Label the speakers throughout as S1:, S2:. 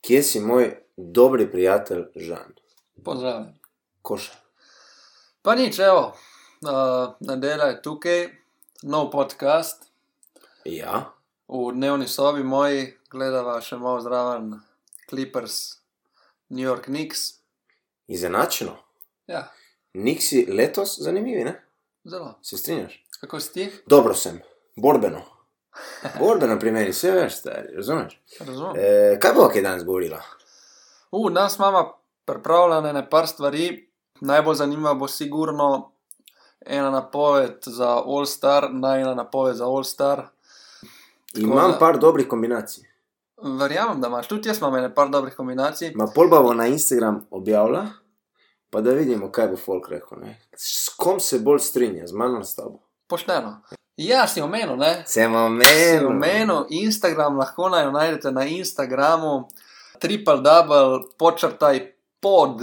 S1: Kje si moj dobri prijatelj Žan?
S2: Pozdravljen.
S1: Koša.
S2: Pa nič, evo, uh, nedelja je tukaj, nov podcast
S1: Ja,
S2: v dnevni sobi moji, gledava še malo zraven Clippers, New York Knicks.
S1: izenačeno.
S2: Ja,
S1: Nik si letos zanimivi, ne?
S2: zelo.
S1: Se strinjaš?
S2: Kako si ti?
S1: Dobro sem, borbeno. Borbeno pri meni, vse veš, stari, razumeš?
S2: Razumem.
S1: E, kaj bo kaj danes govorila?
S2: U, nas imamo pripravljene nekaj stvari, najbolj zanimiva bo sigurno ena napoved za All Star, najna napoved za All Star.
S1: Imam
S2: da-
S1: par dobrih kombinacij.
S2: Verjamem, da imaš tudi jaz, imam nekaj dobrih kombinacij.
S1: Ma polba bo na Instagram objavila, pa da vidimo, kaj bo folk rekel. Ne? S kom se bolj strinja, z mano ali s tabo.
S2: Pošteno. Ja, si omenil, ne?
S1: Se
S2: Si
S1: omenil.
S2: omenil Instagram, lahko naj jo najdete na Instagramu, triple double, počrtaj pod,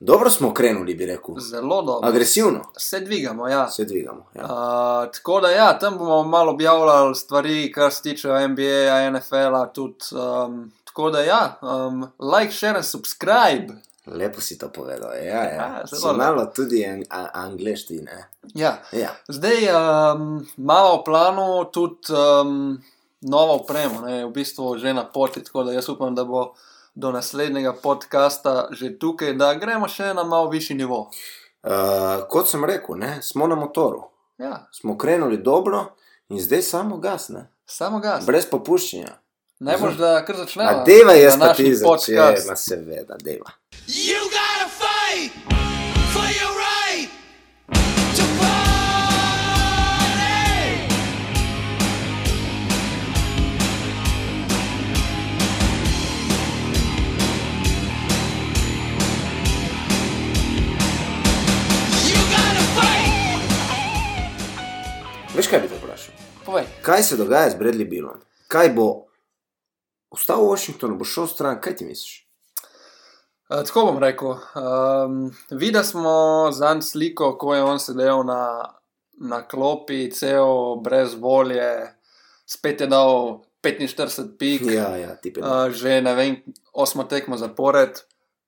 S1: Dobro smo krenuli, bi rekel.
S2: zelo dobro.
S1: Agresivno
S2: Se dvigamo, ja.
S1: se dvigamo. Ja.
S2: Uh, tako da, ja, tam bomo malo objavljali stvari, kar se tiče NBA, NFL-a, tudi. Um, tako da, ja, um, like, share in subscribe.
S1: Lepo si to povedal. Ja, ja.
S2: Ja, zelo
S1: Si
S2: lepo.
S1: malo tudi an, a, angliščine.
S2: Ja.
S1: Ja.
S2: Zdaj um, imamo v planu tudi um, novo opremo, ne? v bistvu že na poti, tako da jaz upam, da bo do naslednjega podcasta že tukaj, da gremo še na malo višji nivo.
S1: Uh, kot sem rekel, ne? smo na motoru,
S2: Ja,
S1: smo krenuli dobro in zdaj samo gasne,
S2: samo gas.
S1: brez popuščanja.
S2: Najbolj, da kar začnemo.
S1: A deva jaz
S2: Ja, na
S1: pa ti
S2: naš
S1: začela,
S2: podcast.
S1: seveda, deva.
S3: You gotta fight for your right to party. You gotta fight.
S1: Veš kaj bi te vprašal?
S2: Povej,
S1: Kaj se dogaja z Bradley Billom? Kaj bo ostal v Washingtonu, bo šel stran, kaj ti misliš?
S2: Eh, Tako bom rekel. Um, Videli smo zanj sliko, ko je on sedel na, na klopi, cel brez volje, spet je dal 45 pik.
S1: Ja, ja, ti pede.
S2: Uh, že ne vem, osmo tekmo zapored,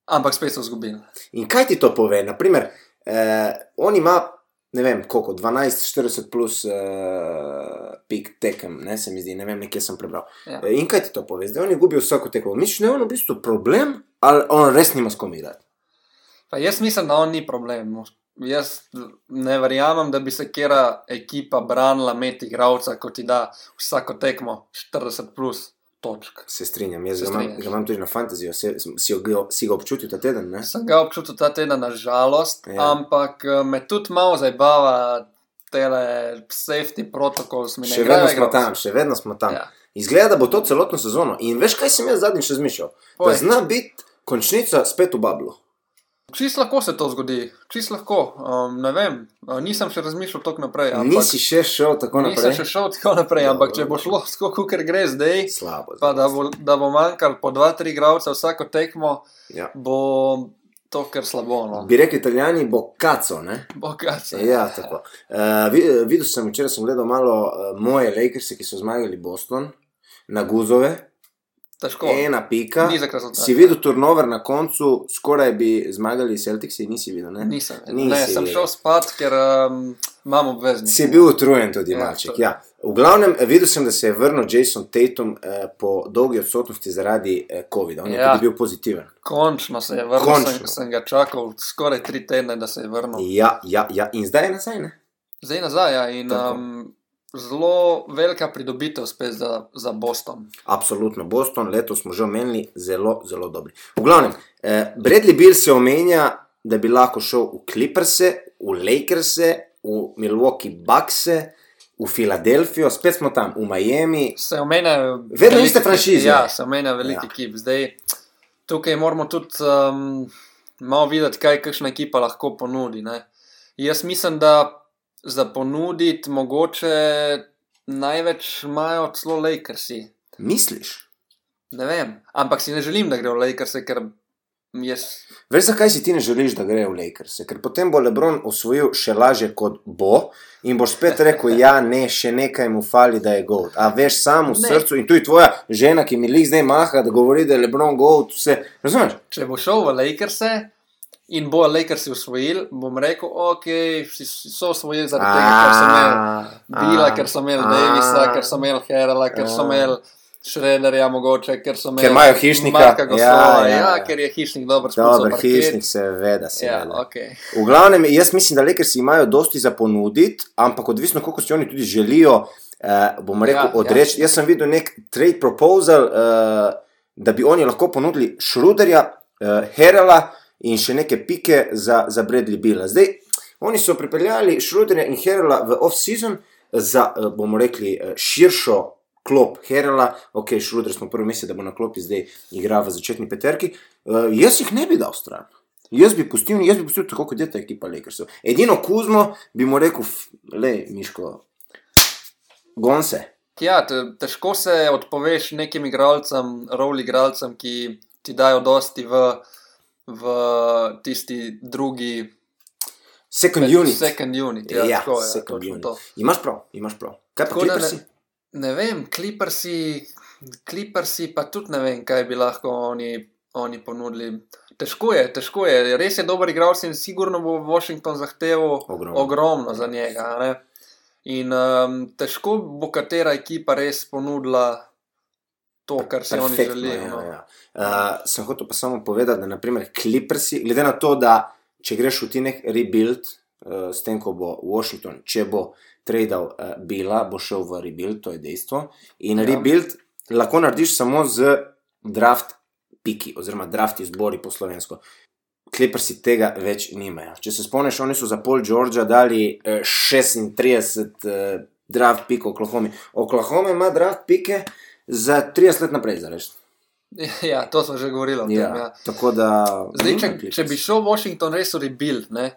S2: ampak spet so izgubili.
S1: In kaj ti to pove? Naprimer, eh, on ima, ne vem, koliko, 12, 40 plus eh, pik tekem, ne se mi zdi, ne vem, nekje sem prebral.
S2: Ja.
S1: Eh, In kaj ti to pove? Zdaj on je gubil vsako tekmo. Misliš, da je on v bistvu problem, ali on res nima s kom igrati?
S2: Pa jaz mislim, da on ni problem. Jaz ne verjamem, da bi se kera ekipa branila imeti igralca, kot ti da vsako tekmo 40 plus točk.
S1: Se strinjam, jaz
S2: Se
S1: ga imam,
S2: strinjaš.
S1: ga imam tudi na fantaziju, se, si, jo- si ga občutil ta teden, ne?
S2: Sem ga občutil ta teden, nažalost,
S1: Ja.
S2: ja. ampak eh, me tudi malo zabava tele safety protokol.
S1: Še vedno smo tam, še vedno smo tam.
S2: Ja.
S1: Izgleda, da bo to celotno sezono. In veš, kaj sem jaz zadnjič razmišljal? Da
S2: Povej.
S1: zna biti končnica spet v Bablu.
S2: Čist lahko se to zgodi, čist lahko. Um, ne vem, eh, nisem še razmišljal tako naprej. Ja, Ampak...
S1: Nisi še šel tako
S2: Nisem
S1: naprej.
S2: še šel tako naprej,
S1: Dobro,
S2: ampak če bo šlo tako, ker gre zdaj,
S1: Slabo.
S2: pa da bo, da bo manjkalo po dva, tri igralce vsako tekmo,
S1: Ja.
S2: bo to kar slabo. No.
S1: Bi rekli italijani, bo kaco, ne?
S2: Bogače.
S1: Ja, tako. Uh, vid, videl sem, včeraj sem gledal malo uh, moje Lakerse, ki so zmagali Boston, na Guzove,
S2: Težko.
S1: ena pika.
S2: Nizek rezultat.
S1: Si videl turnover na koncu, skoraj bi zmagali Celticsi, nisi videl, ne?
S2: Nisem.
S1: Nisi
S2: Ne, sem
S1: videl.
S2: šel spat, ker um, imam obveznost.
S1: Si bil utrujen tudi,
S2: Ja,
S1: malček.
S2: to-
S1: Ja. V glavnem, eh, videl sem, da se je vrnil Jason Tatum eh, po dolgi odsotnosti zaradi eh, COVID-a. On je
S2: Ja.
S1: tudi bil pozitiven.
S2: Končno se je vrnil,
S1: Končno.
S2: sem, sem ga čakal skoraj tri tedne, da se je vrnil.
S1: Ja, ja, ja. In zdaj je nazaj, ne?
S2: Zdaj nazaj ja, in
S1: Tako.
S2: um, zelo velika pridobitev spet za, za Boston.
S1: Absolutno, Boston, letos smo že omenili, zelo, zelo dobri. V glavnem, eh, Bradley Bill se omenja, da bi lahko šel v Clippers, v Lakers, v Milwaukee Bucks, v Filadelfijo, spet smo tam, v Miami.
S2: se omenja.
S1: Vedno iste franšize.
S2: Ja, se omenja veliko
S1: Ja.
S2: ja. ekip. Zdaj, tukaj moramo tudi um, malo videti, kaj kakšna ekipa lahko ponudi. Ne? Jaz mislim, da za ponuditi mogoče največ imajo celo Lakersi.
S1: Misliš?
S2: Ne vem, ampak si ne želim, da gre v Lakers, ker Yes.
S1: Veš, zakaj si ti ne želiš, da gre v Lakers? Ker potem bo Lebron osvojil še lažje, kot bo, in boš spet rekel: Ja, ne, še nekaj mu fali, da je Gold. A veš, sam v
S2: Ne.
S1: srcu in tu je tvoja žena, ki mi lih zdaj maha, da govori, da je Lebron Gold. Vse. Razumeš?
S2: Če bo šel v Lakers in bo Lakers usvojil, bom rekel, ok, vsi so usvojili zaradi tega, ker so imeli Bila, ker so imeli Davisa, ker so imeli Herala, ker
S1: a.
S2: so imeli Šrederja, mogoče, ker so imeli.
S1: Ker imajo hišnika.
S2: Marka Goslova,
S1: Ja,
S2: ja,
S1: ja,
S2: ja,
S1: ja.
S2: ja, ker je hišnik dobro spuščal.
S1: Dober hišnik, seveda,
S2: Ja,
S1: seveda.
S2: ok.
S1: V glavnem, jaz mislim, da Lakersi imajo dosti za ponuditi, ampak odvisno, koliko si oni tudi želijo, eh, bomo rekel,
S2: Ja,
S1: ja,
S2: ja.
S1: odreči. Ja. Jaz sem videl nek trade proposal, eh, da bi oni lahko ponudili Šruderja, eh, Herela in še neke pike za, za Bradley Billa. Zdaj, oni so pripeljali Šruderja in Herela v off-season za, eh, bomo rekli, eh, širšo. Klop Herela, ok, Šruder smo prvi mesec, da bo na klopi zdaj igra v začetni peterki. Uh, jaz jih ne bi dal stran. Jaz bi pustil, jaz bi pustil tako, kot je ta ekipa Lakersov. Edino Kuzmo bi mu rekel, "F- le, Miško, gon se.
S2: Ja, te, težko se odpoveš nekim igralcem, rol igralcem, ki ti dajo dosti v, v tisti drugi.
S1: Second unit.
S2: Second unit, ja,
S1: Ja,
S2: tako, ja,
S1: second
S2: točno
S1: unit.
S2: to.
S1: Imaš prav, imaš prav. Kaj pa
S2: Tako da
S1: Ja, Clippersi?
S2: ne, ne vem, kliprsi, kliprsi pa tudi ne vem, kaj bi lahko oni, oni ponudili. Težko je, težko je. Res je dober igralec in sigurno bo Washington zahteval
S1: Ogromno.
S2: ogromno za njega. a Ne? In um, težko bo katera ekipa res ponudila to, kar si oni
S1: Perfektno,
S2: želijo. no.
S1: Ja, ja. Uh, sem hotel pa samo povedati, da naprimer Clippersi, glede na to, da če greš v ti nek rebuild, uh, s tem, ko bo Washington, če bo tradal uh, Bila, bo šel v rebuild, to je dejstvo. In ja.
S2: Ja.
S1: rebuild lahko narediš samo z draft piki, oziroma draft izbori po slovensko. Clippersi tega več nimajo. Če se spomniš, oni so za pol Georgia dali eh, 36 eh, draft pik Oklahomi. Oklahoma ima draft pike za 30 let naprej, zares.
S2: ja, to smo že govorili. o tem, ja.
S1: Ja, tako da.
S2: Zdaj,
S1: Mm,
S2: če,
S1: Clippers.
S2: če bi šel Washington res v rebuild, ne,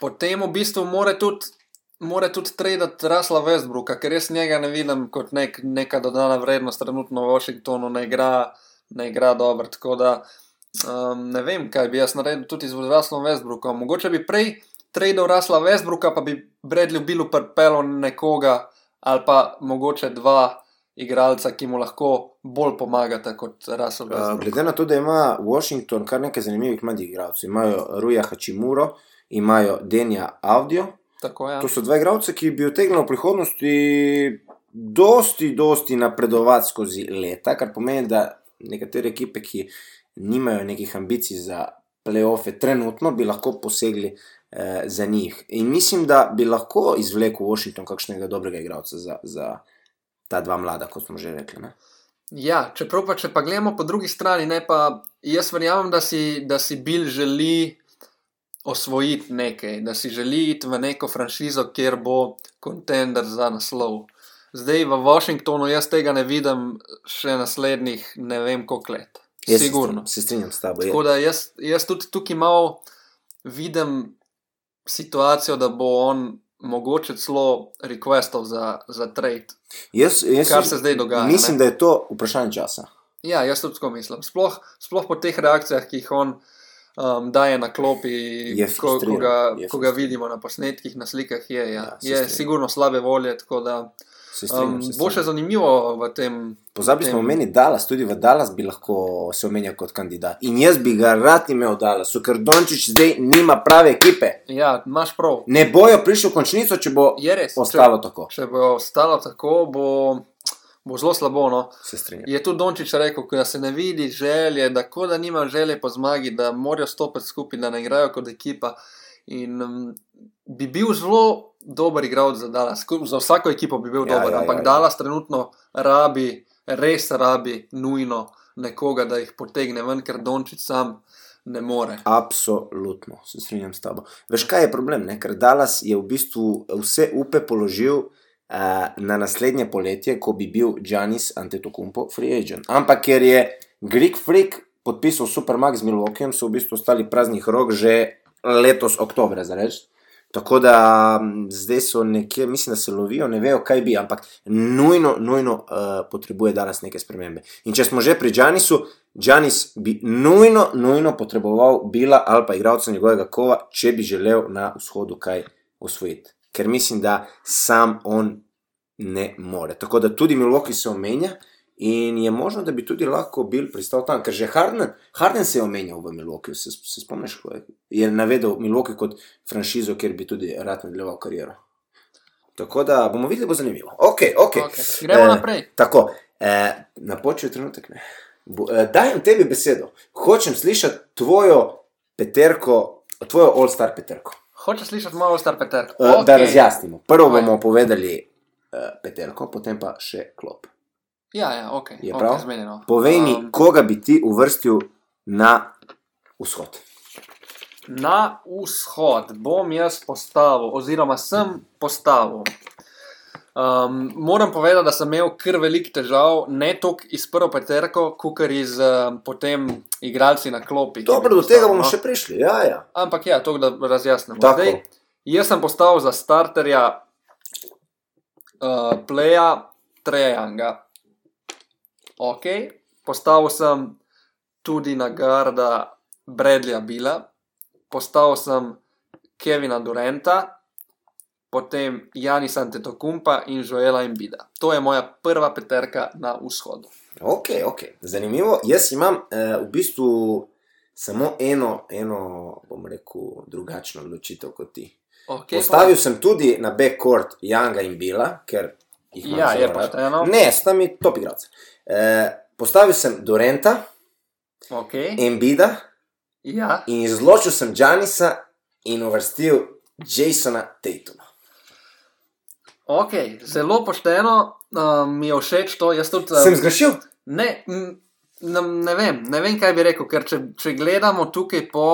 S2: potem v bistvu mora tudi, mora tudi tradati Rasla Westbrooka, ker res njega ne vidim kot nek, neka dodana vrednost trenutno v Washingtonu, ne igra, ne igra dobro. Tako da um, ne vem, kaj bi jaz naredil tudi z Raslom Westbrookom. Mogoče bi prej tradal Rasla Westbrooka, pa bi Bradley Billu prpelo nekoga ali pa mogoče dva. Igralca, ki mu lahko bolj pomagata kot Russell.
S1: Uh,
S2: Westbrook.
S1: glede na to, da ima Washington kar nekaj zanimivih mladih igralcev, imajo Ruja Hačimuro, imajo Denja Audio.
S2: Tako, ja.
S1: To so dva igralca, ki bi utegnili v prihodnosti dosti, dosti napredovati skozi leta, kar pomeni, da nekatere ekipe, ki nimajo nekih ambicij za playoffe, trenutno bi lahko posegli eh, za njih. In mislim, da bi lahko izvlekel Washington kakšnega dobrega igralca za, za ta dva mlada, kot smo že rekli. Ne?
S2: Ja, čeprav pa če pa gledamo po drugi strani, ne pa jaz verjamem, da si, da si Bill želi osvojiti nekaj, da si želi iti v neko franšizo, kjer bo kontender za naslov. Zdaj v Washingtonu jaz tega ne vidim še naslednjih ne vem koliko let.
S1: Jaz se
S2: Sigurno.
S1: strinjam- Se strinjam s tabo. je.
S2: Tako da jaz, jaz tudi tukaj malo vidim situacijo, da bo on mogoče celo requestov za, za trade.
S1: Jaz, jaz
S2: Kar se zdaj dogaja,
S1: Mislim,
S2: ne?
S1: da je to vprašanje časa.
S2: Ja, jaz tudi tako mislim. Sploh, sploh po teh reakcijah, ki jih on um, daje na klopi,
S1: Je
S2: ko, ko,
S1: frustriran,
S2: ga,
S1: je
S2: ko ga
S1: frustriran.
S2: vidimo na posnetkih, na slikah, je, ja.
S1: Ja, se
S2: ja, je
S1: strinjam.
S2: sigurno slabe volje. tako Da,
S1: Se strinjam,
S2: um,
S1: se
S2: bo še um.
S1: strinjam.
S2: zanimivo v tem.
S1: Pozabili smo
S2: tem-
S1: omeniti Dallas, tudi v Dallas bi lahko se omenjal kot kandidat. In jaz bi ga rad imel v Dallasu, ker Dončić zdaj nima prave ekipe.
S2: Ja, imaš prav.
S1: Ne bojo prišli v končnico, če bo
S2: Je res.
S1: ostalo
S2: Če,
S1: tako.
S2: če bo ostalo tako, bo, bo zelo slabo. No.
S1: Se strinjam.
S2: Je tudi Dončić rekel, ko da se ne vidi želje, da kot da nima želje po zmagi, da morajo stopiti skupaj, da ne igrajo kot ekipa. In um, bi bil zelo dober igralec za Dallas. Ko- Za vsako ekipo bi bil
S1: Ja,
S2: ja, dober,
S1: ja,
S2: ja, ampak
S1: ja, ja.
S2: ja, Dallas trenutno rabi, res rabi nujno nekoga, da jih potegne ven, ker Dončić sam ne more.
S1: Absolutno, se strinjam s tabo. Veš, kaj je problem? Ne? Ker Dallas je v bistvu vse upe položil uh, na naslednje poletje, ko bi bil Janis Antetokounmpo free agent. Ampak ker je Greek Freak podpisal Supermax z Milwaukeeom, so v bistvu ostali praznih rok že letos oktobra, zareč. Tako da m, zdaj so nekje, mislim, da se lovijo, ne vejo, kaj bi, ampak nujno, nujno uh, potrebuje danes neke spremembe. In če smo že pri Džanisu, Džanis bi nujno, nujno potreboval Bila ali pa igralca njegovega kova, če bi želel na vzhodu kaj osvojiti. Ker mislim, da sam on ne more. Tako da tudi Milwaukee se omenja in je možno, da bi tudi lahko bil pristal tam, ker že Harden, Harden se je omenjal v Milwaukee, se, se spomniš, ko je, je navedel Milwaukee kot franšizo, kjer bi tudi rad nadaljeval kariero. Tako da bomo videli, bo zanimivo. Ok, ok.
S2: Okay, gremo
S1: Eh,
S2: naprej.
S1: Tako, eh, napočil je trenutek. Ne? Bo, eh, dajem tebi besedo. Hočem slišati tvojo peterko, tvojo all-star peterko.
S2: Hočeš slišati malo star Peter?
S1: Eh, okay. Da
S2: Okej.
S1: razjasnimo. Prvo
S2: Ajde.
S1: bomo povedali eh, peterko, potem pa še klop.
S2: Ja, ja, ok.
S1: Je
S2: ok,
S1: prav?
S2: zmenjeno.
S1: Povej mi,
S2: Um,
S1: koga bi ti uvrstil na vzhod.
S2: Na vzhod bom jaz postavil, oziroma sem postavil. Um, moram povedati, da sem imel kar veliko težav, ne toliko iz prvo peterko, kot iz um, potem igralci na klopi. ki bi
S1: Dobro, do
S2: postavil,
S1: tega bomo
S2: no.
S1: še prišli. Ja, ja.
S2: Ampak ja, to da razjasnimo.
S1: Tako.
S2: Zdaj, jaz sem postavil za starterja uh, Pleja Trejanga. Ok, postavil sem tudi na garda Bradleya Bila, postavil sem Kevina Durenta, potem Janisa Antetokumpa in Joela Embida. To je moja prva peterka na vzhodu.
S1: Ok, ok. Zanimivo. Jaz imam eh, v bistvu samo eno, eno, bom rekel, drugačno odločitev kot ti.
S2: Okay,
S1: Postavil sem tudi na backcourt Janga in Bila, ker jih imam
S2: Ja,
S1: zelo
S2: je
S1: rad.
S2: pošteno.
S1: Ne, sta mi top igralca. E, postavil sem Dorenta,
S2: Okay.
S1: Embida
S2: Ja.
S1: in izločil sem Janisa in uvrstil Jasona Tatuma.
S2: Ok, zelo pošteno uh, mi je všeč to. Jaz tudi, eh,
S1: Sem zgrešil?
S2: ne, m, ne, ne, vem, ne vem, kaj bi rekel, ker če, če gledamo tukaj po,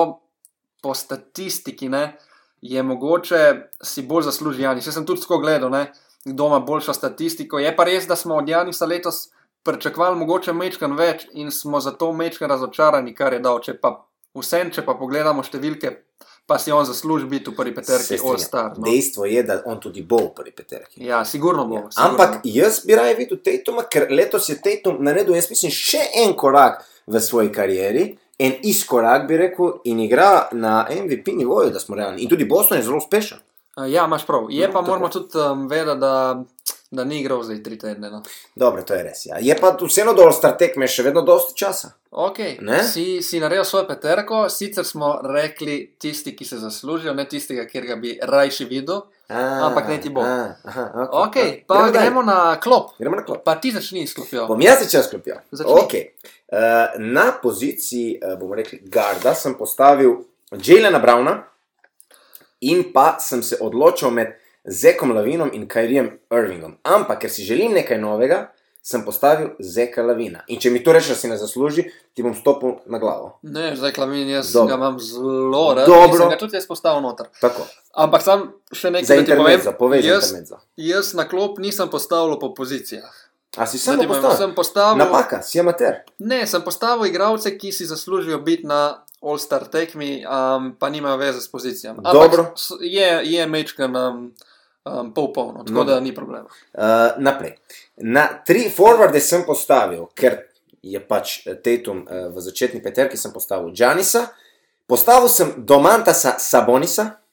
S2: po statistiki, ne, je mogoče si bolj zasluži Janis. Jaz sem tudi tako gledal, ne, kdo ima boljšo statistiko. Je pa res, da smo od Janisa letos pričakovali mogoče mečkan več in smo zato mečkan razočarani, kar je dal. Če pa vsem, če pa pogledamo številke, pa si on zasluži biti v prvi
S1: Se
S2: peterki
S1: strinjam.
S2: All-Star. No.
S1: Dejstvo je, da on tudi bo v prvi peterki.
S2: Ja, sigurno bo.
S1: Ja,
S2: sigurno
S1: Ampak
S2: bo.
S1: jaz bi raje videl Tatuma, ker letos je Tatum naredil, jaz mislim, še en korak v svoji karieri, en izkorak bi rekel, in igra na MVP nivoju, da smo realni. In tudi Boston je zelo uspešen.
S2: Uh, Ja, imaš prav. Je
S1: No,
S2: no, pa
S1: tako.
S2: moramo tudi um, vedeti, da, da ni igral zdaj tri tedne. No.
S1: Dobro, to je res. Ja. Je pa vseeno do star tekme še vedno dosti časa.
S2: Ok,
S1: Ne?
S2: si, si naredil svojo peterko, sicer smo rekli tisti, ki se zaslužijo, ne tistega, kjer ga bi rajši videl.
S1: A,
S2: Ampak naj ti bo.
S1: a, aha,
S2: Ok,
S1: a,
S2: pa
S1: dalje.
S2: gremo na klop.
S1: gremo na klop.
S2: Pa ti začni izklopijo.
S1: Bom jaz začel sklopil.
S2: Začni.
S1: Okay. Uh, na poziciji, uh, bomo rekli, Garda sem postavil Jelena Browna in pa sem se odločil med Zekom Lavinom in Kajrijem Irvingom. Ampak, ker si želim nekaj novega, sem postavil Zeka Lavina. In če mi to rečeš, da si ne zasluži, ti bom stopil na glavo.
S2: Ne, zdaj klamin, jaz
S1: Dobro.
S2: Dobro. ga imam zelo rad.
S1: Dobro.
S2: Mislim, ga tudi jaz postavil noter.
S1: Tako,
S2: Ampak sam še nekaj
S1: za
S2: da ti povem.
S1: intermezzo, povej za
S2: jaz,
S1: intermezzo.
S2: jaz na klop nisem postavil po pozicijah.
S1: A si samo pač
S2: Zdaj ti povem,
S1: postavil?
S2: sem postavil
S1: Napaka, si amater.
S2: Ne, sem postavil igralce, ki si zaslužijo biti na All-Star tekmi, um, pa nimajo veze s pozicijami. Ampak
S1: Dobro.
S2: s- Je, je mečkan um, um, pol polno, tako
S1: No.
S2: no. da ni problema.
S1: Uh, naprej. Na tri forwarde sem postavil, ker je pač Tetum uh, v začetni peterki sem postavil Džanisa, postavil sem Domantasa Sabonisa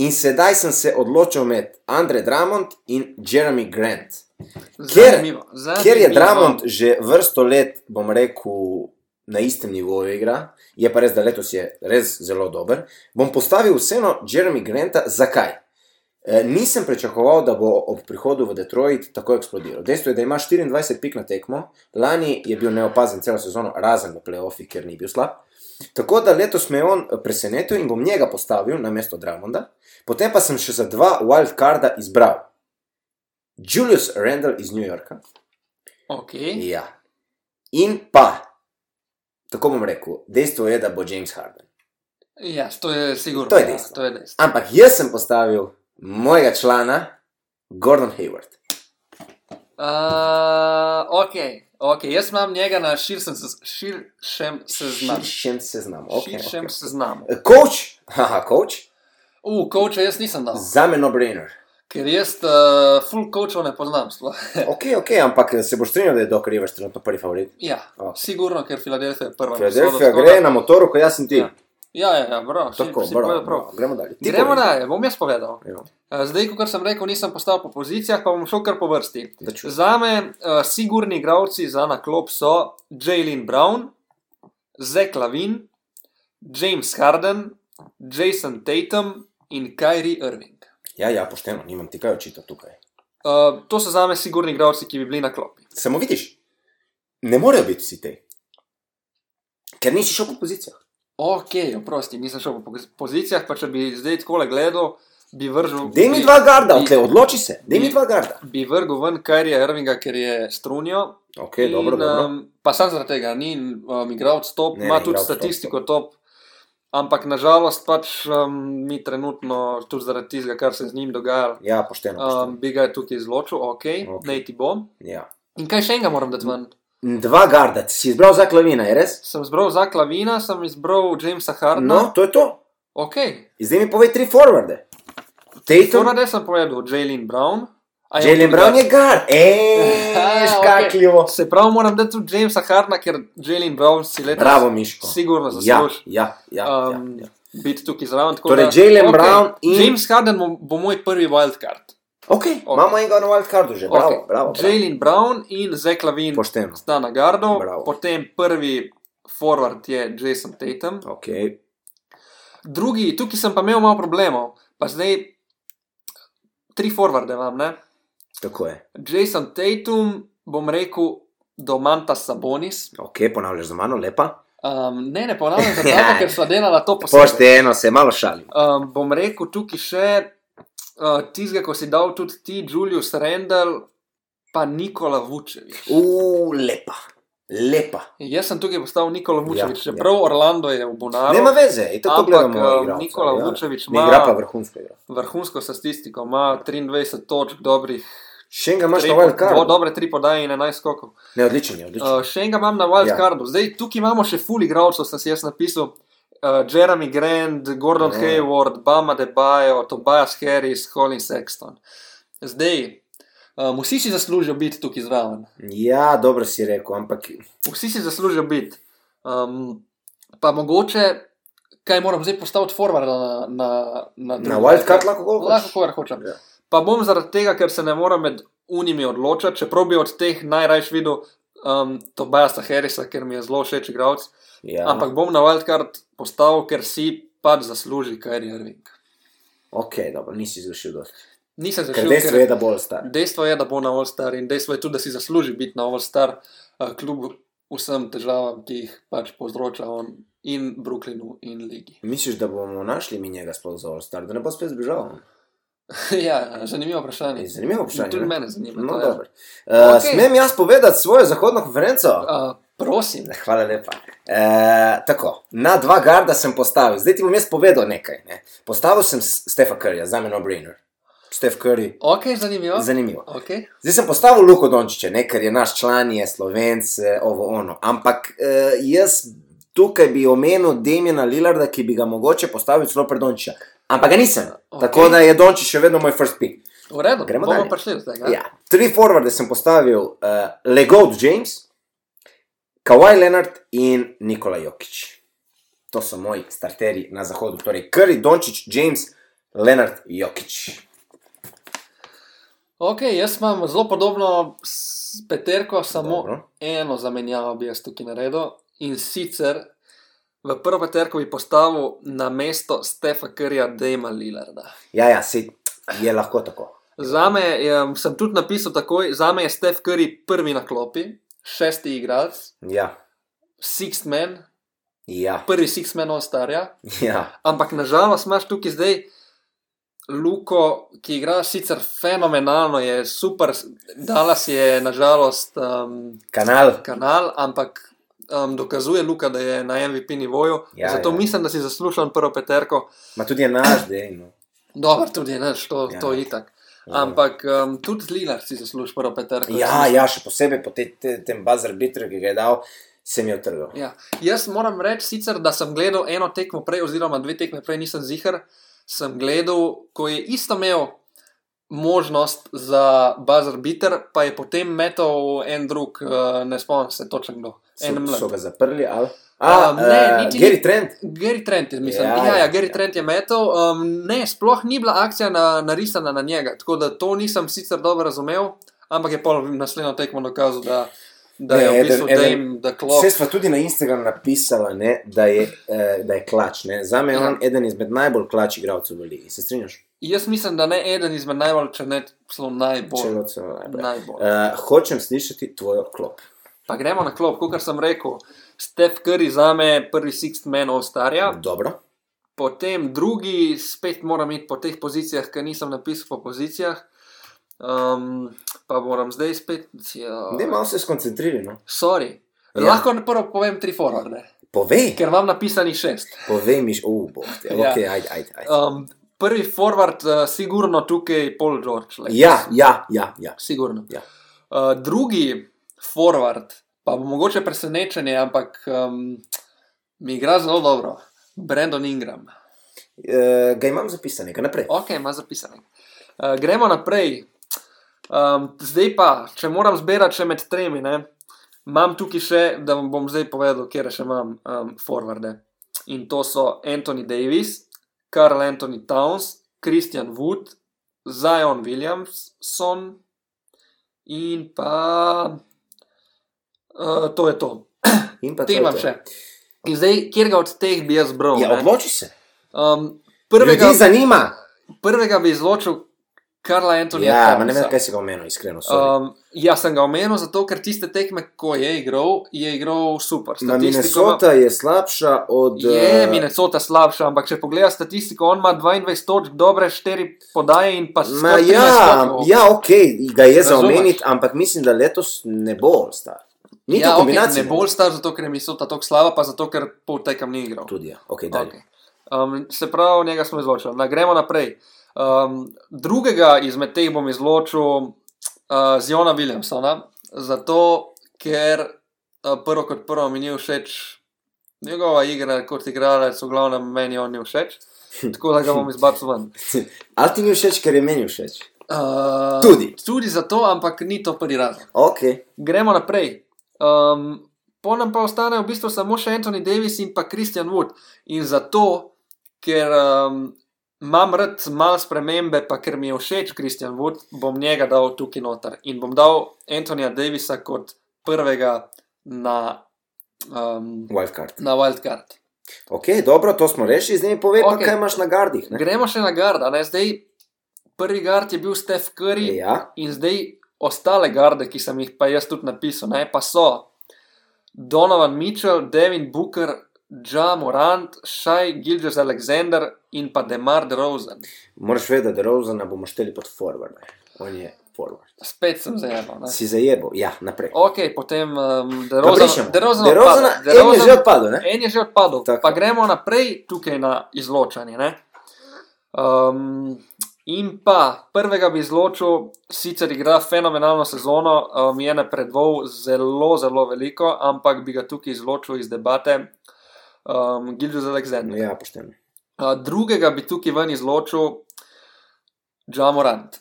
S1: in sedaj sem se odločil med Andre Drummond in Jeremy Grant. Kjer-
S2: Zanimivo. zanimivo.
S1: Ker je Drummond že vrsto let, bom rekel, na istem nivoju igra, je pa res, da letos je res zelo dober, bom postavil vseeno Jeremy Granta. Zakaj? E, nisem pričakoval, da bo ob prihodu v Detroit tako eksplodiral. Dejstvo je, da ima 24 pik na tekmo, lani je bil neopazen celo sezono, razen v playoffih, ker ni bil slab. Tako da letos me je on e, presenetil in bom njega postavil na mesto Drummonda, potem pa sem še za dva wildcarda izbral. Julius Randall iz New Yorka,
S2: Okay.
S1: Ja. In pa, tako bom rekel, dejstvo je, da bo James Harden.
S2: Ja, to je sigurno.
S1: To je
S2: ja,
S1: dejstvo.
S2: To je dejstvo.
S1: Ampak jaz sem postavil mojega člana, Gordon Hayward.
S2: Uh, ok, ok, jaz imam njega na širšem, sez- širšem seznamu.
S1: Širšem seznamu. Okay,
S2: širšem
S1: okay.
S2: seznamu.
S1: Coach, haha, coach,
S2: U, koča jaz nisem dal,
S1: Za me no-brainer.
S2: ker jaz uh, full kočov ne poznam. Sploh.
S1: Ok, ok, ampak se boš strinjal, da je Docker Rivers trenutno prvi favorit.
S2: ja,
S1: Ok.
S2: sigurno, ker Filadelfija je prva.
S1: Filadelfija
S2: Tako da-
S1: gre na motoru, ko jaz sem ti.
S2: Ja. Ja, ja, ja bro,
S1: Tako,
S2: si,
S1: bravo, bravo.
S2: si prav.
S1: gremo dalje. Ti
S2: Gremo
S1: povej.
S2: dalje, bom jaz povedal.
S1: Ja.
S2: Eh, Zdaj, kot sem rekel, nisem postal po pozicijah, pa bom šel kar po vrsti.
S1: Da čujem.
S2: Za me, uh, sigurni igravci za naklop so Jalen Brown, Zek Lavin, James Harden, Jason Tatum in Kyrie Irving.
S1: Ja, ja, pošteno, nimam ti kaj očitati tukaj.
S2: Uh, to so za me sigurni igravci, ki bi bili na klopi.
S1: Samo vidiš, ne morejo biti vsi te. Ker nisi šel po pozicijah.
S2: Ok, oprosti, nisem šel po poz- pozicijah, pa če bi zdaj tako gledal, bi vrgel.
S1: Dej mi
S2: bi-
S1: dva garda,
S2: bi-
S1: okej, odloči se, dej mi
S2: bi-
S1: dva garda.
S2: Bi vrgel ven Kyrija Irvinga, ker je strunijo,
S1: Ok, dobro, dobro.
S2: em, pa sam zaradi tega ni um, igral top,
S1: Ne,
S2: ima
S1: ne,
S2: tudi
S1: igralec top,
S2: statistiko top. Ampak nažalost, pač um, mi trenutno, tudi zaradi tistega, kar se z njim dogaja,
S1: Ja, pošteno. pošteno.
S2: um, bi ga tukaj izločil, ok,
S1: Okej.
S2: okay. naj ti bom.
S1: Ja.
S2: In kaj še enega moram dati ven?
S1: Dva garda, si izbral za klavina, je res?
S2: Sem izbral za Klavina, sem izbral Jamesa Hardna.
S1: No, to je to.
S2: Ok,
S1: Zdaj mi povej tri forwarde. Tatum,
S2: torej sem povedal Jalen Brown. A je on
S1: Jalen
S2: tudi
S1: Brown
S2: guard?
S1: je guard.
S2: Aha,
S1: Ej, škakljivo.
S2: Se pravi, moram dati tudi Jamesa Hardna, ker Jalen Brown si leta.
S1: Bravo, Miško.
S2: Sigurno
S1: Ja,
S2: zasluži.
S1: ja, ja. ja,
S2: um,
S1: ja.
S2: biti tukaj zraven. tako
S1: Torej,
S2: da-
S1: Jalen
S2: okej,
S1: Brown in-
S2: James Harden bo, bo moj prvi wildcard.
S1: Ok, imamo enega na wildcardu že, bravo,
S2: Okej,
S1: bravo. bravo.
S2: Jalen Brown in Zek Lavin
S1: Pošteno.
S2: sta na gardu,
S1: Bravo.
S2: potem prvi forward je Jason Tatum,
S1: Ok,
S2: drugi, tukaj sem pa imel malo problemov, pa zdaj tri forwarde imam, ne?
S1: tako je.
S2: Jason Tatum, bom rekel, Domanta Sabonis.
S1: Ok, ponavljaš za mano, lepa.
S2: Um, ne, ne ponavljam, za tabo, ker sva delala to posebej.
S1: Pošteno se malo šalim.
S2: Um, bom rekel tukaj še uh, tizga, ko si dal tudi ti, Julius Rendel, pa Nikola Vučevič.
S1: Uuu, lepa, lepa.
S2: Jaz sem tukaj postal Nikola Vučevič,
S1: Ja, ja.
S2: čeprav Orlando je v Bonaru.
S1: Nema veze, in tako
S2: Ampak,
S1: gledamo.
S2: eh,
S1: igralca, ja.
S2: Nikola Vučević
S1: Ne
S2: ima-
S1: igra pa vrhunsko igro.
S2: Vrhunsko statistiko, ima 23 točk, dobrih,
S1: Še enega imaš
S2: tri
S1: na
S2: po- dvo-
S1: wildcardu.
S2: dobre 3 podaje in 11 skokov.
S1: Ne, odličen je, odličen.
S2: Uh, še enega imam na wildcardu. Zdaj, tukaj imamo še full igralcev, sem si jaz napisal. Uh, Jeremy Grant, Gordon
S1: Ja.
S2: yeah. Hayward, Bama Debajo, Tobias Harris, Colin Sexton. Zdaj, um, vsi si zaslužijo biti tukaj zraven.
S1: Ja, dobro si rekel, ampak
S2: Vsi si zaslužijo biti. Um, pa mogoče, kaj moram zdaj postaviti forward na, na, na,
S1: na wildcard lahko govoriš.
S2: lahko kar hočem.
S1: Ja.
S2: Pa bom zaradi tega, ker se ne morem med unimi odločiti, čeprav bi od teh najrajš videl um, Tobiasa Harrisa, ker mi je zelo všeč igralec.
S1: Ja.
S2: Ampak bom na wildcard postavil, ker si pač zasluži, kar je Irving.
S1: Ok, dobro, nisi zgrešil dosti.
S2: Nisem
S1: Ker
S2: zašel,
S1: dejstvo je, da bolj star.
S2: dejstvo je, da bo na All-Star in dejstvo je tudi, da si zasluži biti na All-Star, uh, kljub vsem težavam, ki jih pač povzroča on in Brooklynu in Ligi.
S1: Misliš, da bomo našli mi njega sploh za All-Star, da ne bo spet zbežal?
S2: ja, zanimivo vprašanje.
S1: Ej, Zanimivo vprašanje.
S2: Tudi
S1: ne?
S2: mene zanima.
S1: No,
S2: to,
S1: dobro.
S2: ja.
S1: Uh,
S2: Ok.
S1: Smem jaz povedati svojo zahodno konferenco?
S2: Uh, prosim.
S1: Hvala lepa. E, tako, na dva garda sem postavil, zdaj ti bom jaz povedal nekaj. Ne. Postavil sem S- Stefa Curryja, za me no-brainer. Stef Curry,
S2: Ok, zanimivo.
S1: zanimivo.
S2: Okay.
S1: Zdaj sem postavil Luko Dončiča, ne, ker je naš član, je slovenc, eh, ovo ono. Ampak eh, jaz tukaj bi omenil Demjena Lillarda, ki bi ga mogoče postavil celo pred Dončiča. Ampak ga nisem. Okay.
S2: Ok.
S1: Tako da je Dončič še vedno moj first pick.
S2: V redu,
S1: Gremo
S2: bomo
S1: dalje.
S2: prišli do tega.
S1: Ja. Tri forwarde sem postavil, uh, Legold James, Kawhi Leonard in Nikola Jokič. To so moji starteri na zahodu, torej Curry, Dončić, James, Leonard, Jokič.
S2: Ok, jaz imam zelo podobno s peterko, samo
S1: Dobro.
S2: Dobro. eno zamenjavo bi jaz tukaj naredil. In sicer v prvo peterko bi postavil na mesto Stefa Curryja, Dejma Lillarda.
S1: Ja, ja, se je lahko tako.
S2: Zame je, sem tudi napisal takoj, zame je Stef Curry prvi na klopi, šesti igralec,
S1: Ja,
S2: sixth man,
S1: ja,
S2: prvi sixth man on starja.
S1: ja.
S2: Ampak nažalost imaš tukaj zdaj Luko, ki igra sicer fenomenalno, je super, Dallas je nažalost um,
S1: kanal.
S2: kanal, ampak um, dokazuje Luka, da je na MVP nivoju.
S1: Ja,
S2: Ja, Zato
S1: ja.
S2: ja. mislim, da si zaslužil prvo peterko.
S1: Ma tudi je naš, da je. No.
S2: Dobro, tudi naš, to,
S1: Ja.
S2: ja. to je itak.
S1: Ja.
S2: Ampak um, tudi Lilar si zasluži prvo peterko.
S1: Ja, ja, še posebej po te, te, tem buzzer bitru, ki ga je dal, sem jo trgal.
S2: Ja. Jaz moram reči, sicer, da sem gledal eno tekmo prej, oziroma dve tekme prej, nisem zihar. sem gledal, ko je isto imel možnost za buzzer beater, pa je potem metal en drug, eh, ne spomnim se točno kdo. En
S1: So,
S2: mlad.
S1: so ga zaprli, ali?
S2: A,
S1: A,
S2: ne,
S1: eh,
S2: niti ni-
S1: Gary Trent.
S2: Gary Trent je, mislim.
S1: Ja,
S2: Ja, ja,
S1: ja,
S2: ja Gary
S1: ja.
S2: ja. Trent je metal. Um, ne, sploh ni bila akcija na, narisana na njega, tako da to nisem sicer dobro razumel, ampak je pol naslednjo tekmo dokazal, da, da
S1: Ne,
S2: je v
S1: eden-
S2: bistvu
S1: eden-
S2: Dame, da klop.
S1: Vse smo tudi na Instagramu napisali, ne, da, je, eh, da je klač. Ne. Za me je
S2: Ja.
S1: on eden izmed najbolj klač igralcev v ligi. Se strinjaš?
S2: Jaz mislim, da ne eden izmed najbolj, če ne celo najbolj.
S1: Če se najbolj.
S2: Najbolj.
S1: Eh, hočem slišati tvojo klop.
S2: Pa gremo na klop, kot sem rekel. Stef Curry za me prvi sixth man ostarja,
S1: Dobro.
S2: potem drugi spet moram iti po teh pozicijah, ker nisem napisal po pozicijah. Um, pa moram zdaj spet. Ja.
S1: Ne, malo se skoncentriraj. No.
S2: Sorry.
S1: Ja.
S2: Ja. Lahko na prvo povem tri forwarde,
S1: Povej,
S2: ker imam napisanih šest.
S1: povej mi, oh, bog, te.
S2: Ja.
S1: Ok, ajde, ajde. ajde.
S2: Um, prvi forward, uh, sigurno tukaj Paul George. Like,
S1: Ja, ja, ja. ja.
S2: Sigurno.
S1: Ja.
S2: Uh, drugi forward, pa bo mogoče presenečenje, ampak um, mi igra zelo dobro. Brandon Ingram.
S1: E, ga imam zapisanega, naprej.
S2: Ok, ima zapisane. Uh, gremo naprej. Um, zdaj pa, če moram zbirati še med tremi, ne, imam tukaj še, da vam bom zdaj povedal, kje še imam um, forwarde. In to so Anthony Davis, Karl Anthony Towns, Christian Wood, Zion Williamson in pa. Uh, to je to.
S1: In pa to
S2: Te
S1: je
S2: imam
S1: to.
S2: še. In zdaj, kjer ga od teh bi jaz bral?
S1: Ja,
S2: ne?
S1: odloči se.
S2: Um,
S1: Prvega...
S2: prvega,
S1: Ljudi zanima.
S2: Prvega bi izločil Karla Antonija.
S1: Ja, ma ne vem,
S2: Townsa.
S1: kaj si ga omenil, iskreno. sorry.
S2: Um, ja, sem ga omenil zato, ker tiste tekme, ko je igral, je igral super.
S1: Ma
S2: Statistiko
S1: Minnesota je slabša od.
S2: ima- Je
S1: eh,
S2: Minnesota slabša, ampak če pogledaš statistiko, on ima 22 točk, dobre 4 podaje in pa
S1: Ma
S2: skoraj 13
S1: ja,
S2: skokov.
S1: ja, ok, ga je za
S2: Razumeš?
S1: omeniti, ampak mislim, da letos ne bo star. Niti ja,
S2: ja, okay,
S1: kombinacije.
S2: ne bolj star, zato ker je Minnesota tako slaba, pa zato ker pol tekem ni igral.
S1: Tudi, ja. ok, dalje.
S2: Okay. Um, se pravi, njega smo izločili. Na, gremo naprej. Um, drugega izmed teh bom izločil uh, Ziona Williamsona, zato ker uh, prvo kot prvo mi ni všeč njegova igra kot igralec, v glavnem meni on ni všeč. Tako da ga bom izbacil ven.
S1: Ali ti ni všeč, ker je meni všeč?
S2: Uh,
S1: Tudi.
S2: Tudi zato, ampak ni to prvi razlog.
S1: Ok,
S2: Gremo naprej. Um, po nam pa ostane v bistvu samo še Anthony Davis in pa Christian Wood. In zato, ker um, imam rad malo spremembe, pa ker mi je všeč Christian Wood, bom njega dal tukaj noter. In bom dal Anthonyja Davisa kot prvega na, um,
S1: wildcard.
S2: na wildcard.
S1: Ok, dobro, to smo rešili, zdaj mi povej, okay.
S2: Ok.
S1: kaj imaš na gardih. Ne?
S2: Gremo še na garda. Ne? Zdaj, prvi gard je bil Stef Curry.
S1: Ja,
S2: In zdaj ostale garde, ki sem jih pa jaz tudi napisal, ne, pa so Donovan Mitchell, Devin Booker, Ja Morant, Shai Gilgis Alexander in pa Demar DeRozan.
S1: moraš vedeti, da Rozana bomo šteli pod forward. ne. On je forward.
S2: Spet sem zajemal. ne.
S1: Si zajebo, ja, naprej.
S2: Ok, potem um,
S1: Nabrišemo.
S2: DeRozan.
S1: DeRozana,
S2: DeRozan odpade.
S1: en je že
S2: DeRozan-
S1: odpadel, ne?
S2: En je že odpadel,
S1: Tako.
S2: Tako. pa gremo naprej tukaj na izločanje. ne. Um, in pa prvega bi izločil, sicer igra fenomenalno sezono, mi um, je napredoval zelo, zelo veliko, ampak bi ga tukaj izločil iz debate. Um, Gildius Alexander.
S1: Ja, pošteno.
S2: Uh, drugega bi tukaj ven izločil, Jamorant.